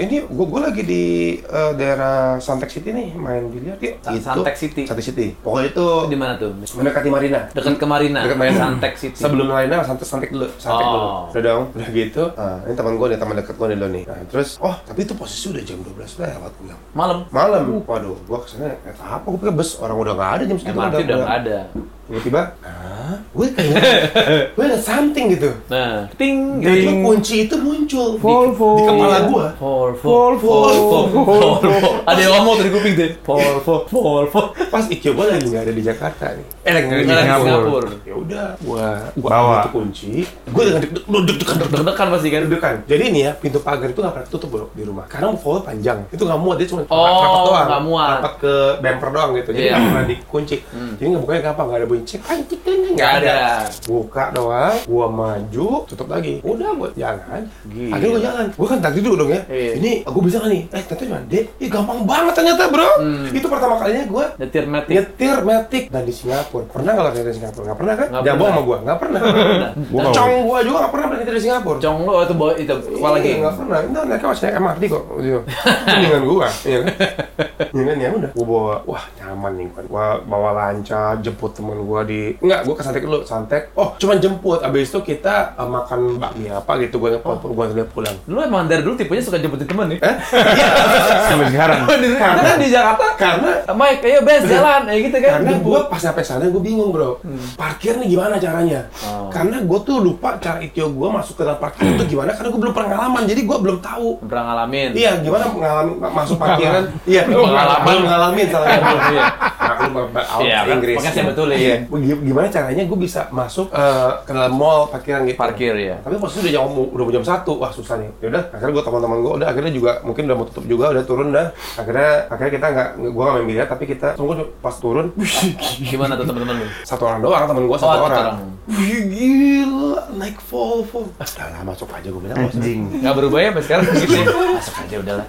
S4: ini gue gue lagi di eh, daerah Santek City nih main biliar yuk
S1: Sa-
S4: Gitu.
S1: Suntec City.
S4: Suntec City pokoknya itu
S1: Itu Di mana tuh?
S4: mendekati Marina
S1: Dekat ke Marina.
S4: Dekat Marina.
S1: Santek City.
S4: sebelum lainnya santai santai dulu santai
S1: Oh.
S4: dulu udah dong udah gitu ah, ini teman gue nih teman dekat gue nih lo nih nah, terus oh tapi itu posisi udah jam 12 udah lewat gue bilang
S1: malam.
S4: malam waduh gue kesana kereta apa gue pikir bus orang udah gak ada jam segitu
S1: MRT udah nggak ada.
S4: tiba-tiba ah gue kayaknya gue ada something gitu
S1: Nah, ting
S4: jadi kunci itu muncul di-
S2: Volvo.
S4: di, kepala gue
S1: Volvo.
S2: Volvo.
S1: Volvo. Ada yang ngomong dari kuping deh. Volvo. Volvo.
S4: pas ikio gue lagi nggak ada di Jakarta nih eh lagi nggak ada di
S1: Karena di
S4: Singapura
S1: Singapura.
S4: ya udah gue
S2: Bawa.
S4: itu kunci gue dengan deg- deg deg deg
S1: Deg-degan pasti kan.
S4: deg-degan. Jadi ini ya, pintu pagar itu nggak pernah tutup bro di rumah. Karena follow panjang. Itu nggak muat, dia cuma
S1: Oh, nggak muat.
S4: Rapat ke bumper doang gitu. Jadi
S1: Iya. Hmm.
S4: nggak pernah dikunci. Jadi nggak bukanya gampang, nggak ada bunyi cek, anjing, anjing, nggak
S1: Nggak
S4: ada.
S1: ada.
S4: Buka doang, gua maju, tutup lagi. Udah gua jalan.
S1: Gila.
S4: Akhirnya gua jalan. Gua kan takdir dulu dong ya.
S1: Iya.
S4: Ini aku bisa nggak nih? Eh ternyata cuma dek. Ih gampang banget ternyata bro.
S1: Hmm.
S4: Itu pertama kalinya gua
S1: Nyetir metik.
S4: nyetir metik dan di Singapura pernah nggak lo nyetir di Singapura nggak pernah kan
S1: Nggak
S4: jangan
S1: pernah.
S4: bohong sama gua nggak pernah
S2: Gua nggak
S4: cong gua juga nggak pernah nyetir di Singapura
S1: Cong lu itu bawa itu apa lagi?
S4: Iya, nggak pernah. Enggak, mereka masih naik MRT kok. Gitu. Itu dengan gua. Iya kan? Iya kan, ya udah. Gua bawa, wah nyaman nih kan. Gua bawa lancar, jemput temen gua di... Enggak, gua ke
S5: Santek dulu, Santek. Oh, cuman jemput. Abis itu kita eh, makan bakmi apa gitu. Gue oh. gua lihat pulang.
S1: Lu emang dari dulu tipenya suka jemputin temen nih. Eh?
S2: sampai sekarang.
S1: Oh, Karena di Jakarta,
S5: Karena
S1: Mike, ayo best jalan, ya gitu kan.
S5: karena gue pas sampai sana gue bingung bro
S1: Hmm.
S5: parkir nih gimana caranya
S1: Oh.
S5: karena gue tuh lupa cara itio gue masuk ke dalam parkir itu gimana karena gue belum pengalaman jadi gue belum tahu
S1: pernah ngalamin.
S5: iya gimana mengalami masuk parkiran iya belum
S1: pengalaman.
S5: belum ngalamin salahnya belum iya
S1: Iya,
S5: iya
S1: kan,
S5: Inggris
S1: makanya saya betulin.
S5: Iya. Gua gi- gimana caranya gue bisa masuk eh, ke dalam mall parkiran gitu
S1: Parkir ya.
S5: tapi posisi udah jam udah jam satu wah susah nih ya udah akhirnya gue teman-teman gue udah akhirnya juga mungkin udah mau tutup juga udah turun dah akhirnya akhirnya kita nggak gue nggak main biliar tapi kita tunggu pas turun
S1: Gimana tuh teman-teman lu?
S5: satu orang doang temen gue satu
S1: satu
S5: orang.
S1: orang.
S5: Wih, gila, naik Volvo. Udah masuk aja gue bilang. Anjing.
S1: Nggak berubah ya sampai sekarang gitu ya. Masuk aja udahlah.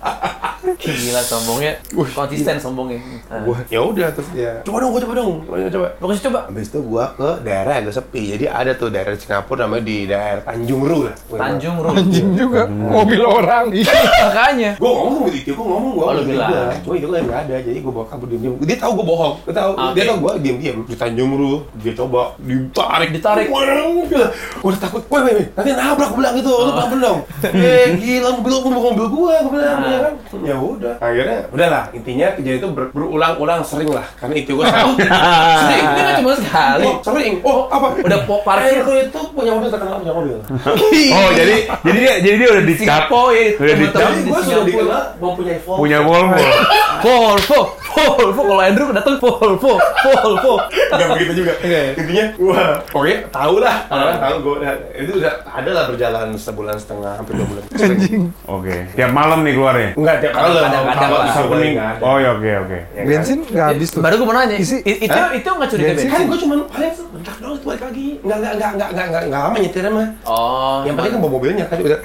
S1: Gila sombongnya, konsisten sombongnya. Ah.
S5: Gue ya udah terus ya. Coba dong, gua coba dong, gua coba.
S1: Fokus coba.
S5: Habis itu gua ke daerah agak sepi. Jadi ada tuh daerah di Singapura namanya di daerah Tanjung Rhu lah.
S1: Tanjung Ru.
S3: Anjing juga, mobil orang.
S1: Makanya.
S5: Gue ngomong sama Dityo, gue ngomong gue
S1: Oh, lu bilang.
S5: Cuma itu kan nggak ada, jadi gue bawa kabur diem-diem Dia tahu gue bohong, dia tahu,
S1: Ah,
S5: dia
S1: oke.
S5: tahu gue diem-diem Di Tanjung Rhu, dia coba ditarik
S1: Ditarik.
S5: Gue udah takut, weh weh weh, nanti nabrak gue bilang gitu, lu bangun dong Eh gila, mobil lu mobil, mobil gue, gue bilang ya kan Ya udah, akhirnya udahlah intinya kejadian itu ber- berulang-ulang sering lah Karena itu gue sering
S1: Sering, ini kan cuma sekali.
S5: Oh, sering, oh apa?
S1: Udah po- parkir.
S5: Eh, lu itu punya mobil, terkenal punya mobil
S2: Oh, jadi jadi dia jadi dia udah dicap.
S1: Singapura ya,
S2: Udah dicap.
S1: teman-teman
S5: Jadi
S1: di
S5: gue sudah
S1: Singapura.
S5: dikenal mempunyai Volvo
S2: Punya Volvo.
S1: Volvo, Volvo, kalau Andrew datang Volvo, Volvo.
S5: Gak begitu juga. Intinya, wah, pokoknya tahu lah. Orang tahu gue itu udah ada lah berjalan sebulan setengah hampir dua bulan. Anjing.
S2: Oke. Tiap malam nih keluarnya.
S5: Enggak tiap kalau
S1: Kadang-kadang
S5: kalau
S1: lah.
S5: bisa kuning.
S2: Oh, ya oke oke.
S3: Bensin nggak habis tuh.
S1: Baru gue mau nanya,
S3: Isi- Iya,
S1: i- itu
S5: Hah?
S1: itu nggak curiga
S3: Bensin.
S1: bensin?
S5: Kan gue cuma paling sebentar doang itu balik lagi. Enggak enggak enggak enggak enggak enggak enggak lama nyetirnya mah.
S1: Oh,
S5: Yang penting kan bawa mobilnya tadi udah.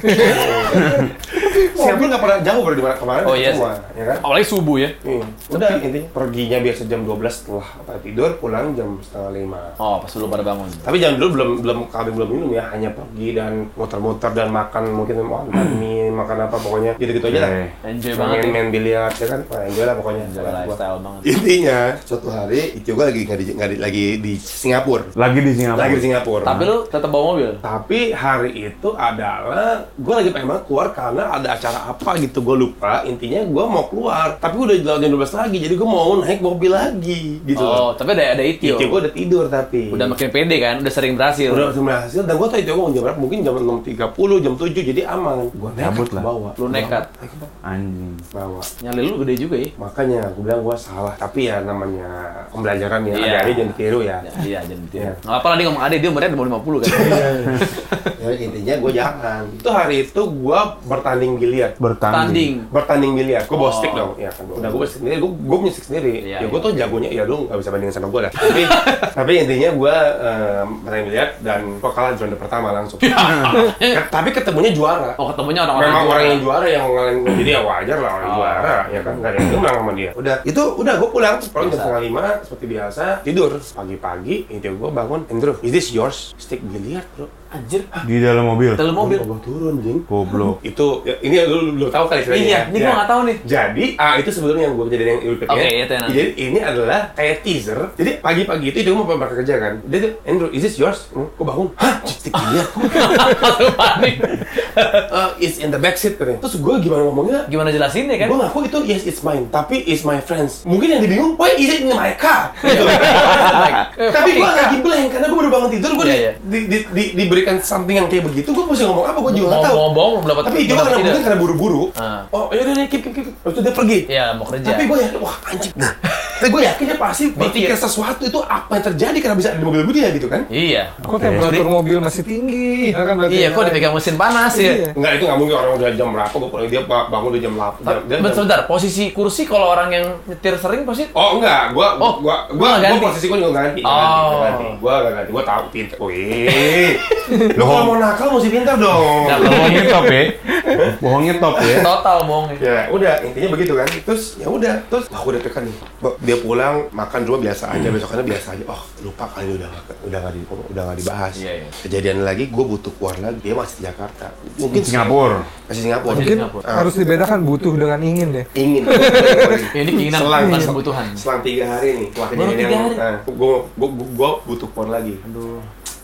S5: Siapa nggak pernah jauh dari mana kemarin
S1: Oh, iya
S5: semua, ya kan?
S1: awalnya subuh ya.
S5: Iya. Udah intinya perginya biasa jam 12 setelah apa, tidur, pulang jam setengah lima.
S1: Oh, pas lu pada bangun.
S5: Tapi jangan dulu belum belum kami belum minum ya, hanya pergi dan muter-muter dan makan mungkin
S4: oh,
S5: mau makan mie, makan apa pokoknya gitu-gitu aja lah.
S2: Oke.
S1: Enjoy
S3: Iya,
S5: Cuma
S1: banget.
S5: Main
S1: ya.
S5: main biliar ya kan, nah, enjoy lah pokoknya.
S1: Enjoy
S5: Lah, gua.
S1: lifestyle banget.
S3: Iya.
S5: Intinya suatu hari itu gue lagi nggak di, nggak di- lagi di Singapura,
S2: Lagi di Singapura.
S5: lagi di Singapura.
S1: Tapi lu tetap bawa mobil?
S5: Tapi hari itu adalah gue lagi pengen banget keluar karena ada acara apa gitu gue lupa. Intinya gue mau keluar, tapi udah jam 12 lagi, jadi gue mau naik mobil lagi gitu.
S1: Oh, tapi ada ada itu.
S5: Itu gue udah tidur tapi.
S1: Udah makin pede kan, udah sering berhasil.
S5: udah langsung berhasil dan gue tau itu uang jam berapa mungkin jam 6.30 jam 7 jadi aman gue
S2: Cabut
S5: nekat
S2: lah.
S5: bawa
S1: Lu nekat.
S2: Anjing.
S5: bawa
S3: Iya.
S1: Nyali lu gede juga ya.
S5: makanya gue bilang gue salah tapi ya namanya pembelajaran ya
S1: Iya.
S5: adik-adik jangan ditiru ya
S1: Iya, jangan gitu.
S5: Iya.
S1: Enggak apa lah dia ngomong ade, dia umurnya udah mau 50 kan.
S5: Ya, intinya gue jangan itu hari itu gue bertanding biliar
S1: Tanding.
S2: Bertanding.
S5: bertanding biliar gue bawa
S1: Oh.
S5: stick dong ya kan udah gue bawa stick sendiri gue gue punya stick sendiri
S1: Iya,
S5: ya gue
S1: iya.
S5: tuh jagonya ya lu nggak bisa bandingin sama gue dah tapi tapi intinya gue eh, bertanding biliar dan gue kalah di ronde pertama langsung Ket- tapi ketemunya juara
S1: Ya. Oh, ketemunya orang-orang
S5: memang
S1: tua.
S5: orang yang juara yang ngalahin jadi ya wajar lah orang
S1: Oh.
S5: juara ya kan nggak ada yang menang sama dia udah itu udah gue pulang pulang jam
S1: Biasa.
S5: setengah lima seperti biasa tidur pagi-pagi itu gue bangun Andrew is this yours stick biliar bro
S1: anjir.
S2: Di dalam mobil.
S1: Dalam mobil.
S5: gue turun jing
S2: Goblok.
S5: itu ya, ini lu belum tahu kali istilahnya
S1: Iya,
S5: ya?
S1: ini gua
S5: Ya.
S1: nggak tahu nih.
S5: jadi ah itu sebelumnya yang gue kejadian yang berikutnya
S1: Oke, iya, tenang.
S5: jadi ini adalah kayak teaser jadi pagi-pagi itu dia mau berangkat kerja kan dia tuh Andrew is this yours gue bangun hah stick biliar
S1: Langsung panik.
S5: Eh, it's in the backseat katanya terus gue gimana ngomongnya
S1: Gimana jelasinnya kan?
S5: Gue ngaku itu yes it's mine, tapi it's my friends. Mungkin yang dibingung, why is it in my car?
S1: Iya.
S5: Gitu.
S1: Eh,
S5: tapi gue lagi blank karena gue baru bangun tidur, gue
S1: Iya, iya.
S5: di, di, di, diberikan something yang kayak begitu, gue mesti ngomong apa, gue juga nggak tahu.
S1: eh, Mau bohong belum dapat.
S5: Tapi dia
S1: dapat
S5: karena
S1: tidak.
S5: mungkin karena buru-buru.
S1: Ah.
S5: Oh, yaudah nih, keep, keep, keep. Lalu itu dia pergi.
S1: Iya, mau kerja.
S5: Tapi gue ya, wah anjing. Nah, tapi gue yakin dia pasti berpikir sesuatu itu apa yang terjadi karena bisa ada di mobil gue dia gitu kan.
S1: Iya.
S3: Kok temperatur mobil masih tinggi? Ya kan berarti
S1: Iya, kok
S3: ada-
S1: dipegang mesin panas ya.
S5: Enggak, itu nggak mungkin orang udah jam berapa, gue pulang dia bangun udah jam 8.
S1: Tapi bentar, bentar, posisi kursi kalau orang yang nyetir sering pasti
S5: Oh enggak, gua
S1: Oh,
S5: gua
S1: lu
S5: gua
S1: nggak
S5: gua
S1: ganti?
S5: posisi gua juga nggak ganti. nggak
S1: Oh.
S5: ganti, nggak ganti. Gua nggak ganti, gua tahu pinter. Wih. Lu kalau mau nakal mesti pintar dong.
S1: Nah,
S2: bohongnya top ya bohongnya top ya
S5: Iya.
S1: total bohongnya.
S5: Ya udah intinya begitu kan. Terus ya udah terus wah udah tekan nih. Bo- Dia pulang makan cuma biasa aja besokannya biasa aja. Oh lupa kali udah nggak- udah nggak di, udah nggak dibahas.
S1: Iya, iya.
S5: Kejadian lagi gue butuh keluar lagi. Dia masih di Jakarta. Mungkin
S2: Singapura
S5: Masih Singapura.
S1: Masih
S3: Mungkin
S1: Singapura.
S5: Ah,
S3: harus dibedakan butuh dengan ingin deh.
S5: ingin.
S1: Ya, ini keinginan,
S5: Selang-
S1: bukan kebutuhan.
S5: Selang tiga hari nih. Wah,
S1: Baru
S5: kejadian
S1: tiga
S5: yang-
S1: hari?
S5: Nah, gue gue gue butuh keluar lagi. Aduh.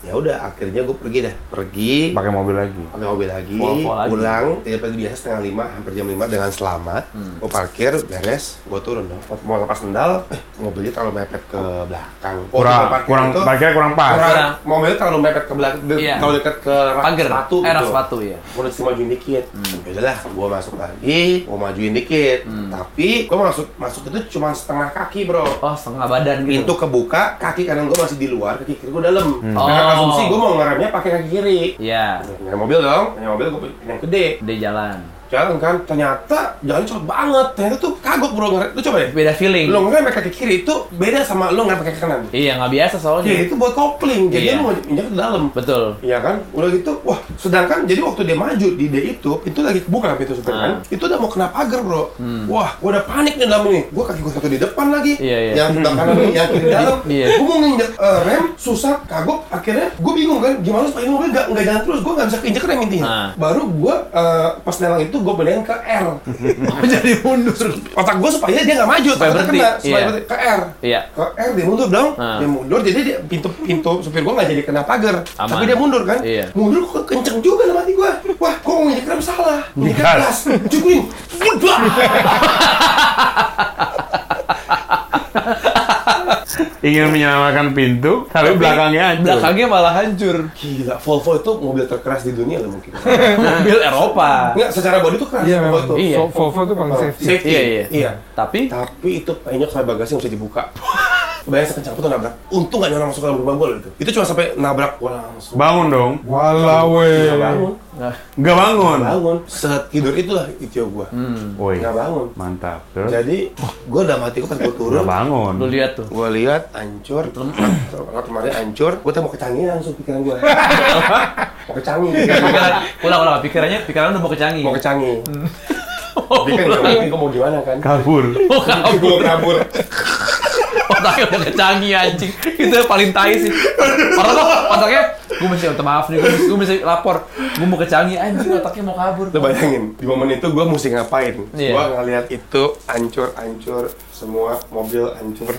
S5: Ya udah akhirnya gue pergi dah. Pergi.
S2: pakai mobil lagi
S5: pakai mobil lagi,
S1: Wah, wah lagi.
S5: pulang, tiap pagi biasa setengah lima, hampir jam lima dengan selamat.
S1: Hmm.
S5: Gue parkir, beres, gue turun dong. Pas Mau lepas sendal, eh, mobilnya terlalu mepet ke belakang. Waktu gua
S2: kurang
S5: parkir
S2: kurang
S5: Oh, itu,
S2: parkirnya kurang pas
S5: kurang- mobilnya terlalu mepet ke belakang, de-
S1: Iya.
S5: terlalu dekat ke rak
S1: Pagar,
S5: sepatu gitu.
S1: eh, rak sepatu, Hmm. iya.
S5: Gue udah majuin dikit. Ya udahlah, gue masuk lagi, gue majuin dikit.
S1: Hmm.
S5: Tapi gue masuk masuk itu cuma setengah kaki bro.
S1: Oh, setengah badan gitu.
S5: Pintu kebuka, kaki kanan gue masih di luar, kaki kiri gue dalam.
S1: Oh.
S5: Karena asumsi gue mau ngeremnya pakai kaki kiri.
S1: Iya,
S5: Nyari mobil dong, nyari mobil gue yang gede.
S1: di jalan.
S5: Jalan kan, ternyata jalan cepet banget. Ternyata tuh kagok bro, ngere- lu coba deh.
S1: Beda feeling.
S5: Lo ngerem pakai kaki kiri itu beda sama lo ngerem pakai kaki kanan.
S1: Iya, nggak biasa soalnya.
S5: Ya itu buat kopling,
S1: Iya.
S5: jadi lo injak ke dalam.
S1: Betul.
S5: Iya kan? Udah gitu, wah sedangkan jadi waktu dia maju di dia itu, pintu lagi kebuka pintu supir kan?
S1: Ah.
S5: Itu udah mau kena pagar bro. Wah, gua udah panik nih dalam ini. Gua kaki gua satu di depan lagi,
S1: Hmm. Iya, iya.
S5: yang sebelah kanan yang kiri dalam.
S1: Iya.
S5: Gua mau nginjek eh, rem, susah, kagok. Akhirnya gua bingung kan, gimana supaya ini mobil nggak nggak jalan terus? Gua nggak bisa keinjek rem intinya.
S1: Nah.
S5: Baru gua eh, pas nelang itu gua beliin ke R. jadi mundur. Otak gua supaya dia nggak maju,
S1: Supaya
S5: takutnya
S1: berhenti.
S5: kena, supaya
S1: Iya.
S5: berhenti. ke R.
S1: Iya.
S5: Ke R Eh, dia mundur dong,
S1: Nah.
S5: dia mundur jadi dia, pintu pintu supir gua nggak jadi kena pagar,
S1: Aman.
S5: tapi dia mundur kan?
S1: Iya.
S5: Mundur kok kenceng juga dalam hati gua. Wah, kok ngejek rem salah. Ngejek
S2: Nyegas.
S5: keras. Cukurin. Udah.
S2: ingin menyelamatkan pintu tapi belakangnya hancur
S1: Belakangnya malah hancur.
S5: Gila, Volvo itu mobil terkeras di dunia lah mungkin.
S1: Mobil Eropa.
S5: Enggak, secara body tuh keras.
S3: Iya
S5: Volvo
S3: memang.
S5: itu.
S1: Iya.
S3: Vo- Volvo itu paling safety.
S5: Safety.
S1: Iya, iya.
S5: Iya.
S1: Tapi
S5: Tapi itu penyok sampai bagasi nggak bisa dibuka. Bayang sekencang itu nabrak. Untung nggak nyolong masuk ke dalam rumah gua loh itu. Itu cuma sampai nabrak gua langsung.
S2: bangun dong
S3: Walau weh.
S5: Nggak bangun.
S2: nggak bangun
S5: Bangun. Setidur itulah itu gua.
S1: Hmm.
S2: woi
S5: Nggak bangun.
S2: mantap terus
S5: Jadi, gua udah mati gua pas gua turun.
S2: nggak bangun
S1: lu lihat tuh.
S5: gue lihat hancur rak kemarin hancur gue tuh mau kecanggih langsung pikiran gue mau kecanggih
S1: Pikiran, ulang ulang pikirannya pikiran udah mau ke Canggih.
S5: mau kecanggih dia kan nggak mungkin gue mau gimana kan
S2: kabur
S1: Oh, kabur.
S5: gue kabur
S1: otaknya udah ke Canggih anjing. Itu yang paling tai sih. Orang tuh otaknya gue mesti minta maaf nih, gue mesti, gua mesti lapor. Gue mau ke Canggih anjing otaknya mau kabur.
S5: lo bayangin di momen itu gue mesti ngapain
S1: Iya.
S5: gue ngeliat itu hancur hancur semua mobil hancur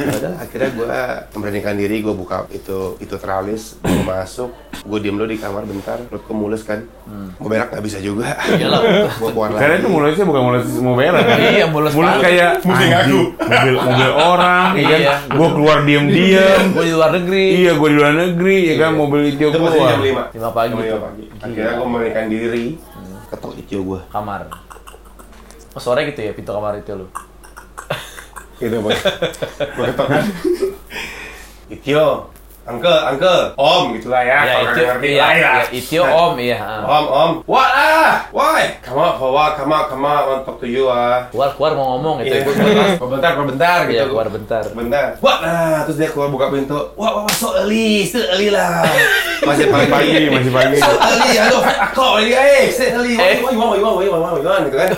S5: Ya udah akhirnya gue memberanikan diri gue buka itu itu teralis gue masuk gue diem dulu di kamar bentar perut gue mules kan gue berak nggak bisa juga
S1: Iyalah.
S5: gue keluar lagi
S2: karena itu mulusnya bukan mulus mau berak kan?
S1: Iya, mulus
S2: mulus
S1: banget.
S2: kayak
S5: Mungkin
S2: anjing,
S5: aku.
S2: mobil mobil orang ya kan
S1: Iya.
S2: gua keluar diem diem
S1: Gue di luar negeri.
S2: iya gua di luar negeri ya kan mobil itu
S5: Iya. itu masih
S2: keluar
S5: jam 5
S1: Lima pagi.
S5: jam 5 pagi akhirnya gue melarikan diri ketok itu gue
S1: Kamar. Oh, sore gitu ya pintu kamar itu lu.
S5: gitu bang gue ketok kan Itio Angke, angke, om gitu lah ya, kalau
S1: itu
S5: nggak ngerti
S1: iya,
S5: lah ya.
S1: iya, itu
S5: Nah,
S1: om iya. ah.
S5: Om, om, what ah, why? Come on, for what? Come on, come on, I want to talk to you ah.
S1: Keluar keluar mau ngomong gitu.
S5: Iya,
S1: Gua-
S5: bentar, bentar gitu.
S1: Iya, keluar bentar.
S5: Bentar. Wah, nah, terus dia keluar buka pintu. Wah, wah, wah, so early, still early lah. Masih pagi
S2: pagi
S5: pagi,
S2: masih pagi
S5: Sel Ali, halo, aku Ali, eh, Sel Ali, wah, wah, wah, wah, wah, wah, wah, gitu kan.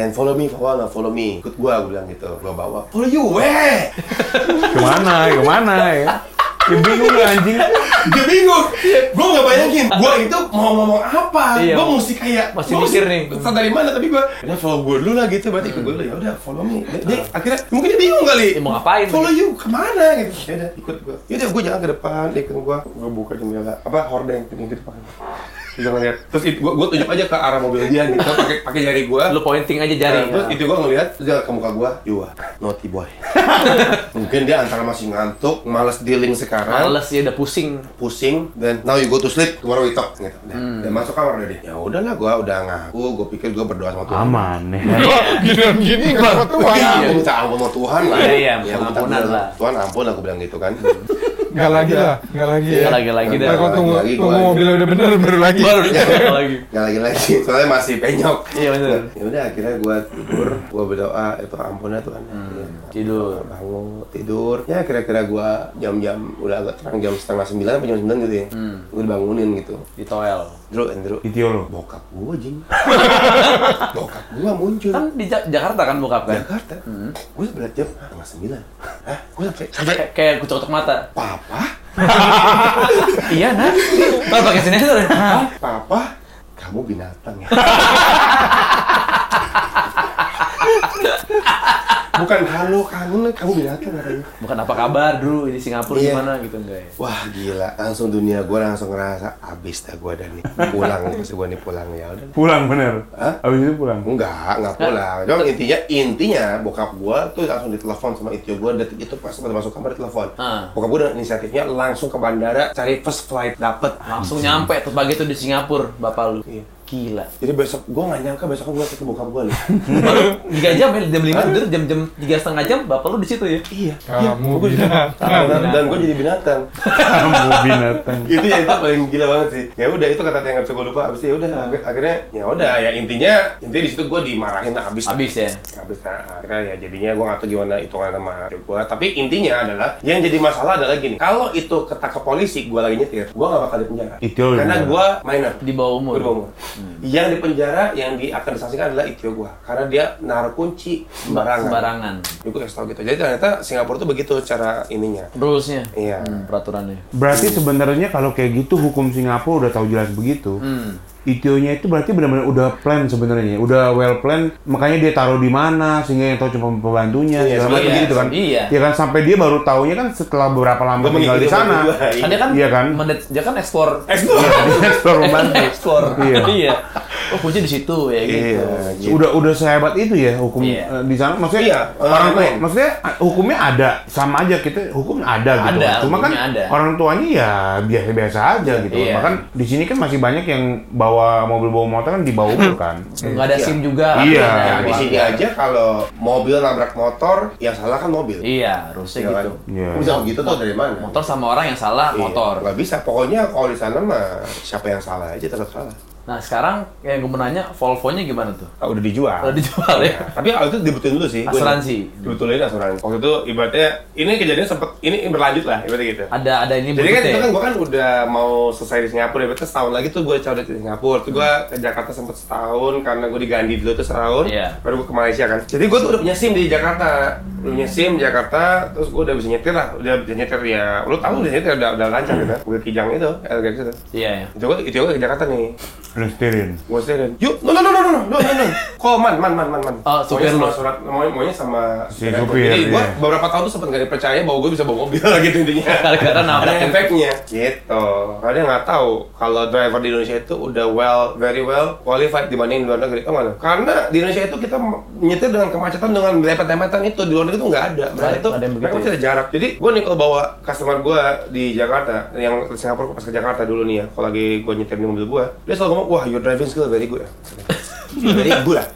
S5: And follow me, follow me, follow me. Ikut gua, gua bilang gitu. Gua bawa. Follow you, eh. weh.
S2: kemana kemana ya ya bingung lah anjing
S5: Dia bingung. Gua nggak bayangin. Gua itu mau ngomong apa?
S1: Iya.
S5: Gua mesti kayak
S1: Masih
S5: gua
S1: mikir nih.
S5: Entah dari mana tapi gua. Udah follow gua dulu lah gitu. Berarti ikut gua dulu. Ya udah, follow me. Dia, dia akhirnya mungkin dia bingung kali.
S1: Ya, mau ngapain?
S5: Follow you kemana gitu. Ya udah, ikut gua. Ya udah, gua jalan ke depan. Dia ikut gua. Gua buka jendela. Apa hordeng di depan. Dia ngeliat. Terus itu, gua, gua tunjuk aja ke arah mobil dia gitu. Pakai pakai jari gua.
S1: Lu Iya. pointing aja jari.
S5: Nah, terus itu gua ngeliat terus dia ke muka gua, you are naughty boy. Mungkin dia antara masih ngantuk, malas dealing sekarang,
S1: Males ya udah pusing.
S5: pusing dan now you go to sleep tomorrow we talk gitu. Udah,
S1: Hmm.
S5: udah masuk kamar udah deh. Ya udahlah gua udah ngaku, gua pikir gua berdoa sama Tuhan.
S2: aman ya kan?
S3: Giliran gini nggak sama Tuhan.
S5: Iya, gua minta ampun sama Tuhan lah.
S1: Iya, iya,
S5: Ya, gua minta
S1: pengampunan
S5: bilang,
S1: lah. Hmm.
S5: Tuhan ampun aku bilang gitu kan.
S3: Nggak lagi lah, nggak lagi ya.
S5: Iya.
S1: Nggak lagi-lagi dah.
S3: Ntar kalau tunggu,
S5: Lagi-lagi,
S3: tunggu
S5: lagi. Iya,
S3: mobilnya udah bener baru lagi.
S1: Baru dicek lagi.
S5: Nggak lagi-lagi, soalnya masih penyok.
S1: Iya benar.
S5: Ya udah akhirnya gue tidur, gue berdoa, itu ampunnya Tuhan. Ya.
S1: Hmm. Tidur.
S5: Bangun, tidur. Ya kira-kira gue jam-jam udah agak terang jam setengah sembilan apa jam sembilan gitu ya.
S1: Hmm.
S5: Gue dibangunin gitu.
S1: Di toel.
S5: Drew, Andrew.
S2: Itio lu.
S5: Bokap gue jing. Bokap gue muncul.
S1: Kan di Ja- Jakarta kan bokap kan?
S5: Jakarta. Gue sebelah jam setengah sembilan. Hah? Gue sampai
S1: Kayak- Kayak kucok-kucok mata.
S5: papa,
S1: Iya, nah. Pas pakai sensor. Hah?
S5: papa, kamu binatang ya. Bukan halo kamu, kamu binatang katanya.
S1: Bukan apa kabar, Dru, di Singapura
S5: Iya.
S1: gimana gitu enggak ya?
S5: Wah gila, langsung dunia gue langsung ngerasa abis dah gue dan nih pulang, pasti gue nih pulang ya udah.
S2: Pulang bener.
S5: Hah?
S2: Abis itu pulang.
S5: Enggak, enggak pulang. Cuma intinya intinya bokap gue tuh langsung ditelepon sama itu gue detik itu pas pada masuk kamar ditelepon.
S1: Ah.
S5: Bokap gue dengan inisiatifnya langsung ke bandara cari first flight dapet.
S1: Langsung nyampe tuh pagi tuh di Singapura, bapak lu.
S5: Iya.
S1: Gila.
S5: Jadi besok gue nggak nyangka besok gue ketemu bokap gue nih. Nah,
S1: Baru 3 jam ya, jam 5 tidur, jam jam 3 setengah jam, bapak lu di situ ya?
S5: iya.
S3: Kamu
S5: gua jadi-
S3: binatang.
S5: Dan, gue jadi binatang.
S2: Kamu binatang.
S5: itu ya itu paling gila banget sih. Ya udah itu kata yang nggak bisa gue lupa. Abis itu ya udah ak- akhirnya ya udah ya intinya intinya di situ gue dimarahin lah abis.
S1: Habis ya.
S5: Habis nah, akhirnya ya jadinya gue nggak tahu gimana hitungan sama gue. Tapi intinya adalah yang jadi masalah adalah gini. Kalau itu ketangkap polisi gue lagi nyetir, gue nggak bakal di penjara.
S2: Itu lu
S5: Karena
S2: bener.
S5: gue minor.
S1: Di bawah umur.
S5: Gua di bawah umur. Yang di penjara yang di akan disaksikan adalah itu gue. Karena dia naruh kunci sembarangan.
S1: Sembarangan.
S5: Gue kasih tau gitu. Jadi ternyata Singapura tuh begitu cara ininya.
S1: Rules-nya.
S5: Iya.
S1: Hmm, peraturannya.
S2: Berarti sebenarnya kalau kayak gitu hukum Singapura udah tahu jelas begitu.
S5: Hmm.
S1: Hmm.
S2: Itionya itu berarti benar-benar udah plan sebenarnya, udah well plan. Makanya dia taruh di mana sehingga yang tahu cuma pembantunya
S5: Iya,
S2: segala macam
S1: iya.
S2: gitu kan.
S1: Iya.
S2: Ya kan sampai dia baru taunya kan setelah beberapa lama
S5: Gua
S2: tinggal di
S5: mengikuti
S2: sana.
S5: berdua, iya.
S1: Kan dia kan,
S2: Iya kan?
S1: menit- dia kan eksplor
S5: Explore.
S2: Dia
S1: Gitu.
S2: explore pembantu.
S1: Ekspor.
S2: Iya.
S1: iya. Oh, kunci di situ ya gitu.
S5: gitu.
S2: Udah udah sehebat itu ya hukum
S1: Iya.
S2: eh, di sana. Maksudnya
S5: Iya,
S2: orang
S5: eh,
S2: tua,
S5: main.
S2: maksudnya eh, hukumnya ada sama aja kita hukum ada gitu.
S1: Ada,
S2: Cuma kan
S1: hukumnya ada.
S2: orang tuanya ya biasa-biasa aja gitu.
S1: Iya.
S2: Bahkan di sini kan masih banyak yang bawa mobil bawa motor kan di bawah umur kan.
S1: Enggak ada SIM juga.
S2: Iya.
S1: Nah,
S5: Nah, di sini aja kalau mobil nabrak motor, yang salah kan mobil.
S1: Iya, harusnya
S5: Ya kan?
S1: gitu.
S2: Iya.
S5: Bisa gitu tuh dari mana?
S1: Motor sama orang yang salah
S5: Iya,
S1: motor.
S5: Nggak bisa. Pokoknya kalau di sana mah siapa yang salah aja tetap salah.
S1: Nah, sekarang yang gue mau nanya Volvo-nya gimana tuh?
S5: Ah, udah dijual.
S2: Iya.
S1: Udah dijual ya?
S5: Tapi kalau itu dibetulin dulu sih.
S1: Asuransi.
S5: Dibetulin asuransi. Waktu itu ibaratnya ini kejadian sempat ini berlanjut lah ibaratnya gitu.
S1: Ada ada ini
S5: Jadi kan
S1: bentuknya
S5: itu
S1: ya?
S5: kan gue kan udah mau selesai di Singapura, ibaratnya setahun lagi tuh gue cabut di Singapura. Tuh gue ke Jakarta sempet setahun karena gue diganti dulu tuh setahun.
S1: Iya.
S5: Baru gue ke Malaysia kan. Jadi gue tuh udah punya SIM di Jakarta, udah punya SIM di Jakarta, terus gue udah bisa nyetir lah, udah bisa nyetir ya. Lu tahu udah nyetir udah udah lancar gitu. Gue kijang itu, LGX itu.
S1: Iya, iya.
S5: Itu gue itu gue ke Jakarta nih.
S2: Listerin.
S5: Gue setirin. Yuk, no no no no no no no no. Call man man man man man.
S1: Oh, supir
S5: Maunya sama
S1: lu.
S5: surat, mau maunya sama
S2: Si
S5: supir.
S2: supir,
S5: Jadi gue
S2: iya.
S5: beberapa tahun tuh sempet gak dipercaya bahwa gue bisa bawa mobil gitu intinya
S1: Gara-gara
S5: ada
S1: nabrak.
S5: efeknya gitu karena dia nggak tahu kalau driver di Indonesia itu udah well very well qualified dibanding di luar negeri oh mana karena di Indonesia itu kita nyetir dengan kemacetan dengan melepet-lepetan itu di luar negeri itu nggak ada berarti
S1: Ada-
S5: itu
S1: ada yang
S5: mereka
S1: begitu
S5: masih
S1: ya?
S5: ada jarak jadi gue nih kalau bawa customer gue di Jakarta yang ke Singapura pas ke Jakarta dulu nih ya kalau lagi gue nyetir di mobil gue dia selalu ngomong wah your driving skill very good ya." very good lah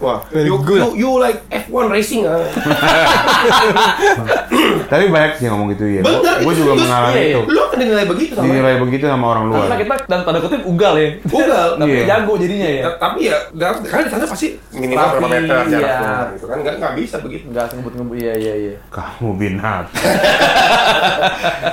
S5: Wah,
S3: Very
S5: you,
S3: good.
S5: you, you like F1 racing ah.
S2: Tapi banyak sih yang ngomong gitu ya.
S5: Bener,
S2: Gue juga
S5: itu-
S2: mengalami
S1: iya,
S2: itu.
S5: Lu akan dinilai begitu sama
S2: Dinilai begitu sama orang luar.
S1: Karena kita dan tanda kutip ugal ya.
S5: Ugal,
S1: Tapi
S2: iya.
S1: jago jadinya ya.
S5: Ta- tapi ya dalam kan di sana pasti minimal
S1: Tapi,
S5: berapa meter jaraknya
S1: iya.
S5: gitu kan nggak nggak bisa begitu
S1: Enggak ngebut-ngebut. Iya, iya, iya.
S2: Kamu binatang.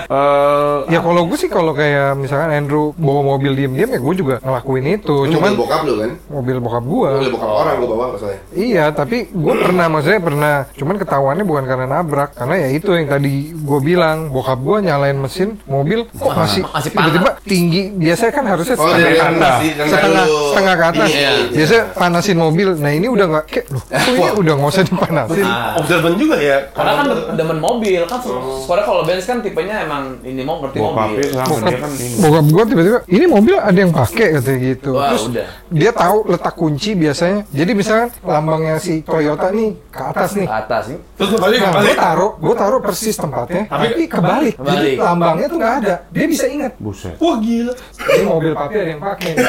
S2: Eh,
S3: Ya kalau gue sih kalau kayak misalkan Andrew bawa mobil diem-diem ya gue juga ngelakuin itu.
S5: Lu
S3: Cuman
S5: mobil bokap lu kan
S3: mobil bokap gue.
S1: Eh.
S5: mobil bokap
S1: Oh.
S5: orang gua bawa maksudnya
S3: Iya, tapi gue pernah, maksudnya pernah. Cuman ketahuannya bukan karena nabrak, karena ya itu yang tadi gue bilang, bokap gue nyalain mesin mobil kok masih
S1: masih
S3: tiba-tiba tinggi. Biasanya kan harusnya
S5: Oh,
S3: setengah
S5: dari
S3: ke atas,
S5: atas, dari
S3: setengah
S5: dulu.
S3: setengah ke atas.
S5: Iya, iya.
S3: Biasanya panasin mobil. Nah ini udah nggak, kayak, loh, kok ini udah nggak usah dipanasin.
S1: Ah.
S5: observan juga ya
S1: Karena kan demen mobil kan
S2: Oh.
S1: suara kalau Benz kan tipenya emang ini mau ngerti
S2: Bokapnya
S1: mobil.
S2: sama dia kan ini.
S3: Bokap gue tiba-tiba, ini mobil ada yang pakai katanya gitu.
S1: Wah,
S3: Terus
S1: udah.
S3: dia tahu letak kunci biasanya. Jadi misalkan lambangnya si Toyota nih ke atas nih.
S1: Ke atas nih.
S5: terus lu balik
S3: Nah, gue
S5: balik
S3: taruh, gue taruh persis tempatnya, tapi, kebalik. Jadi
S1: Kebalik.
S3: lambangnya tuh nggak ada. Dia bisa ingat.
S2: Buset.
S5: wah gila
S3: Ini mobil papi ada yang pakai. nih.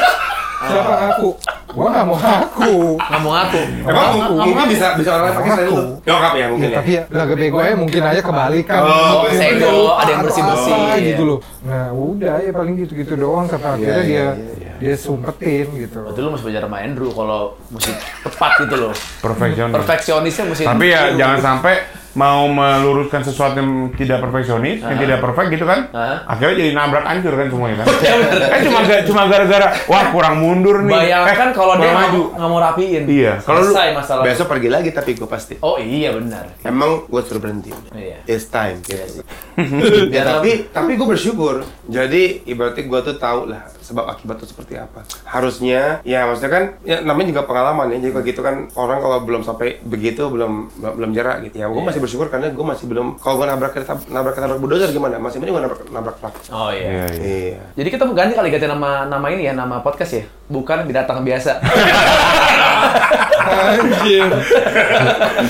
S1: Ah.
S3: Siapa aku? Gua nggak mau aku.
S1: Nggak mau aku.
S4: Emang umumnya bisa bisa orang pakai selain itu? Nyokap ya
S5: Iya,
S4: mungkin ya.
S3: Tapi ya laga bego aja mungkin aja kebalikan.
S4: Oh,
S2: iya,
S3: Gitu
S1: sego,
S3: loh.
S1: Oh, ada yang bersih-bersih,
S3: Apa
S1: iya.
S3: gitu loh. Nah, udah ya paling gitu-gitu doang sampai akhirnya
S1: iya,
S3: dia dia sumpetin gitu loh.
S1: Berarti lu mesti belajar sama Andrew kalau musik tepat gitu loh.
S2: Perfeksionis.
S1: Perfeksionisnya mesti
S2: Tapi ya
S1: Andrew.
S2: jangan sampai mau meluruskan sesuatu yang tidak perfeksionis, yang tidak perfect gitu kan.
S1: Ah.
S2: Akhirnya jadi nabrak hancur kan semuanya kan.
S1: Ya bener.
S2: eh cuma ga- cuma gara-gara wah kurang mundur nih.
S1: Bayangkan
S2: Eh,
S1: kalau dia
S2: kurang
S1: nggak
S2: maju.
S1: mau- nggak mau rapiin.
S2: Iya, kalau lu-
S1: selesai masalah.
S5: Besok pergi lagi tapi gue pasti.
S1: Oh iya benar.
S5: Emang gue suruh berhenti.
S1: Iya.
S5: It's time.
S1: sih.
S5: Gitu.
S1: Iya,
S5: ya, tapi tapi gue bersyukur. Jadi ibaratnya gue tuh tahu lah sebab akibat tuh seperti apa. Harusnya ya maksudnya kan ya, namanya juga pengalaman ya. Jadi kalau gitu kan orang kalau belum sampai begitu belum belum, belum jarak gitu. Ya gue masih bersyukur karena gue masih belum kalau gue nabrak kereta nabrak nabrak bulldozer gimana? Masih mending gue nabrak nabrak truk.
S1: Oh
S2: Iya, iya.
S5: Iya.
S1: Jadi kita mau ganti kali ganti nama nama ini ya nama podcast ya, bukan binatang biasa.
S3: Anjir.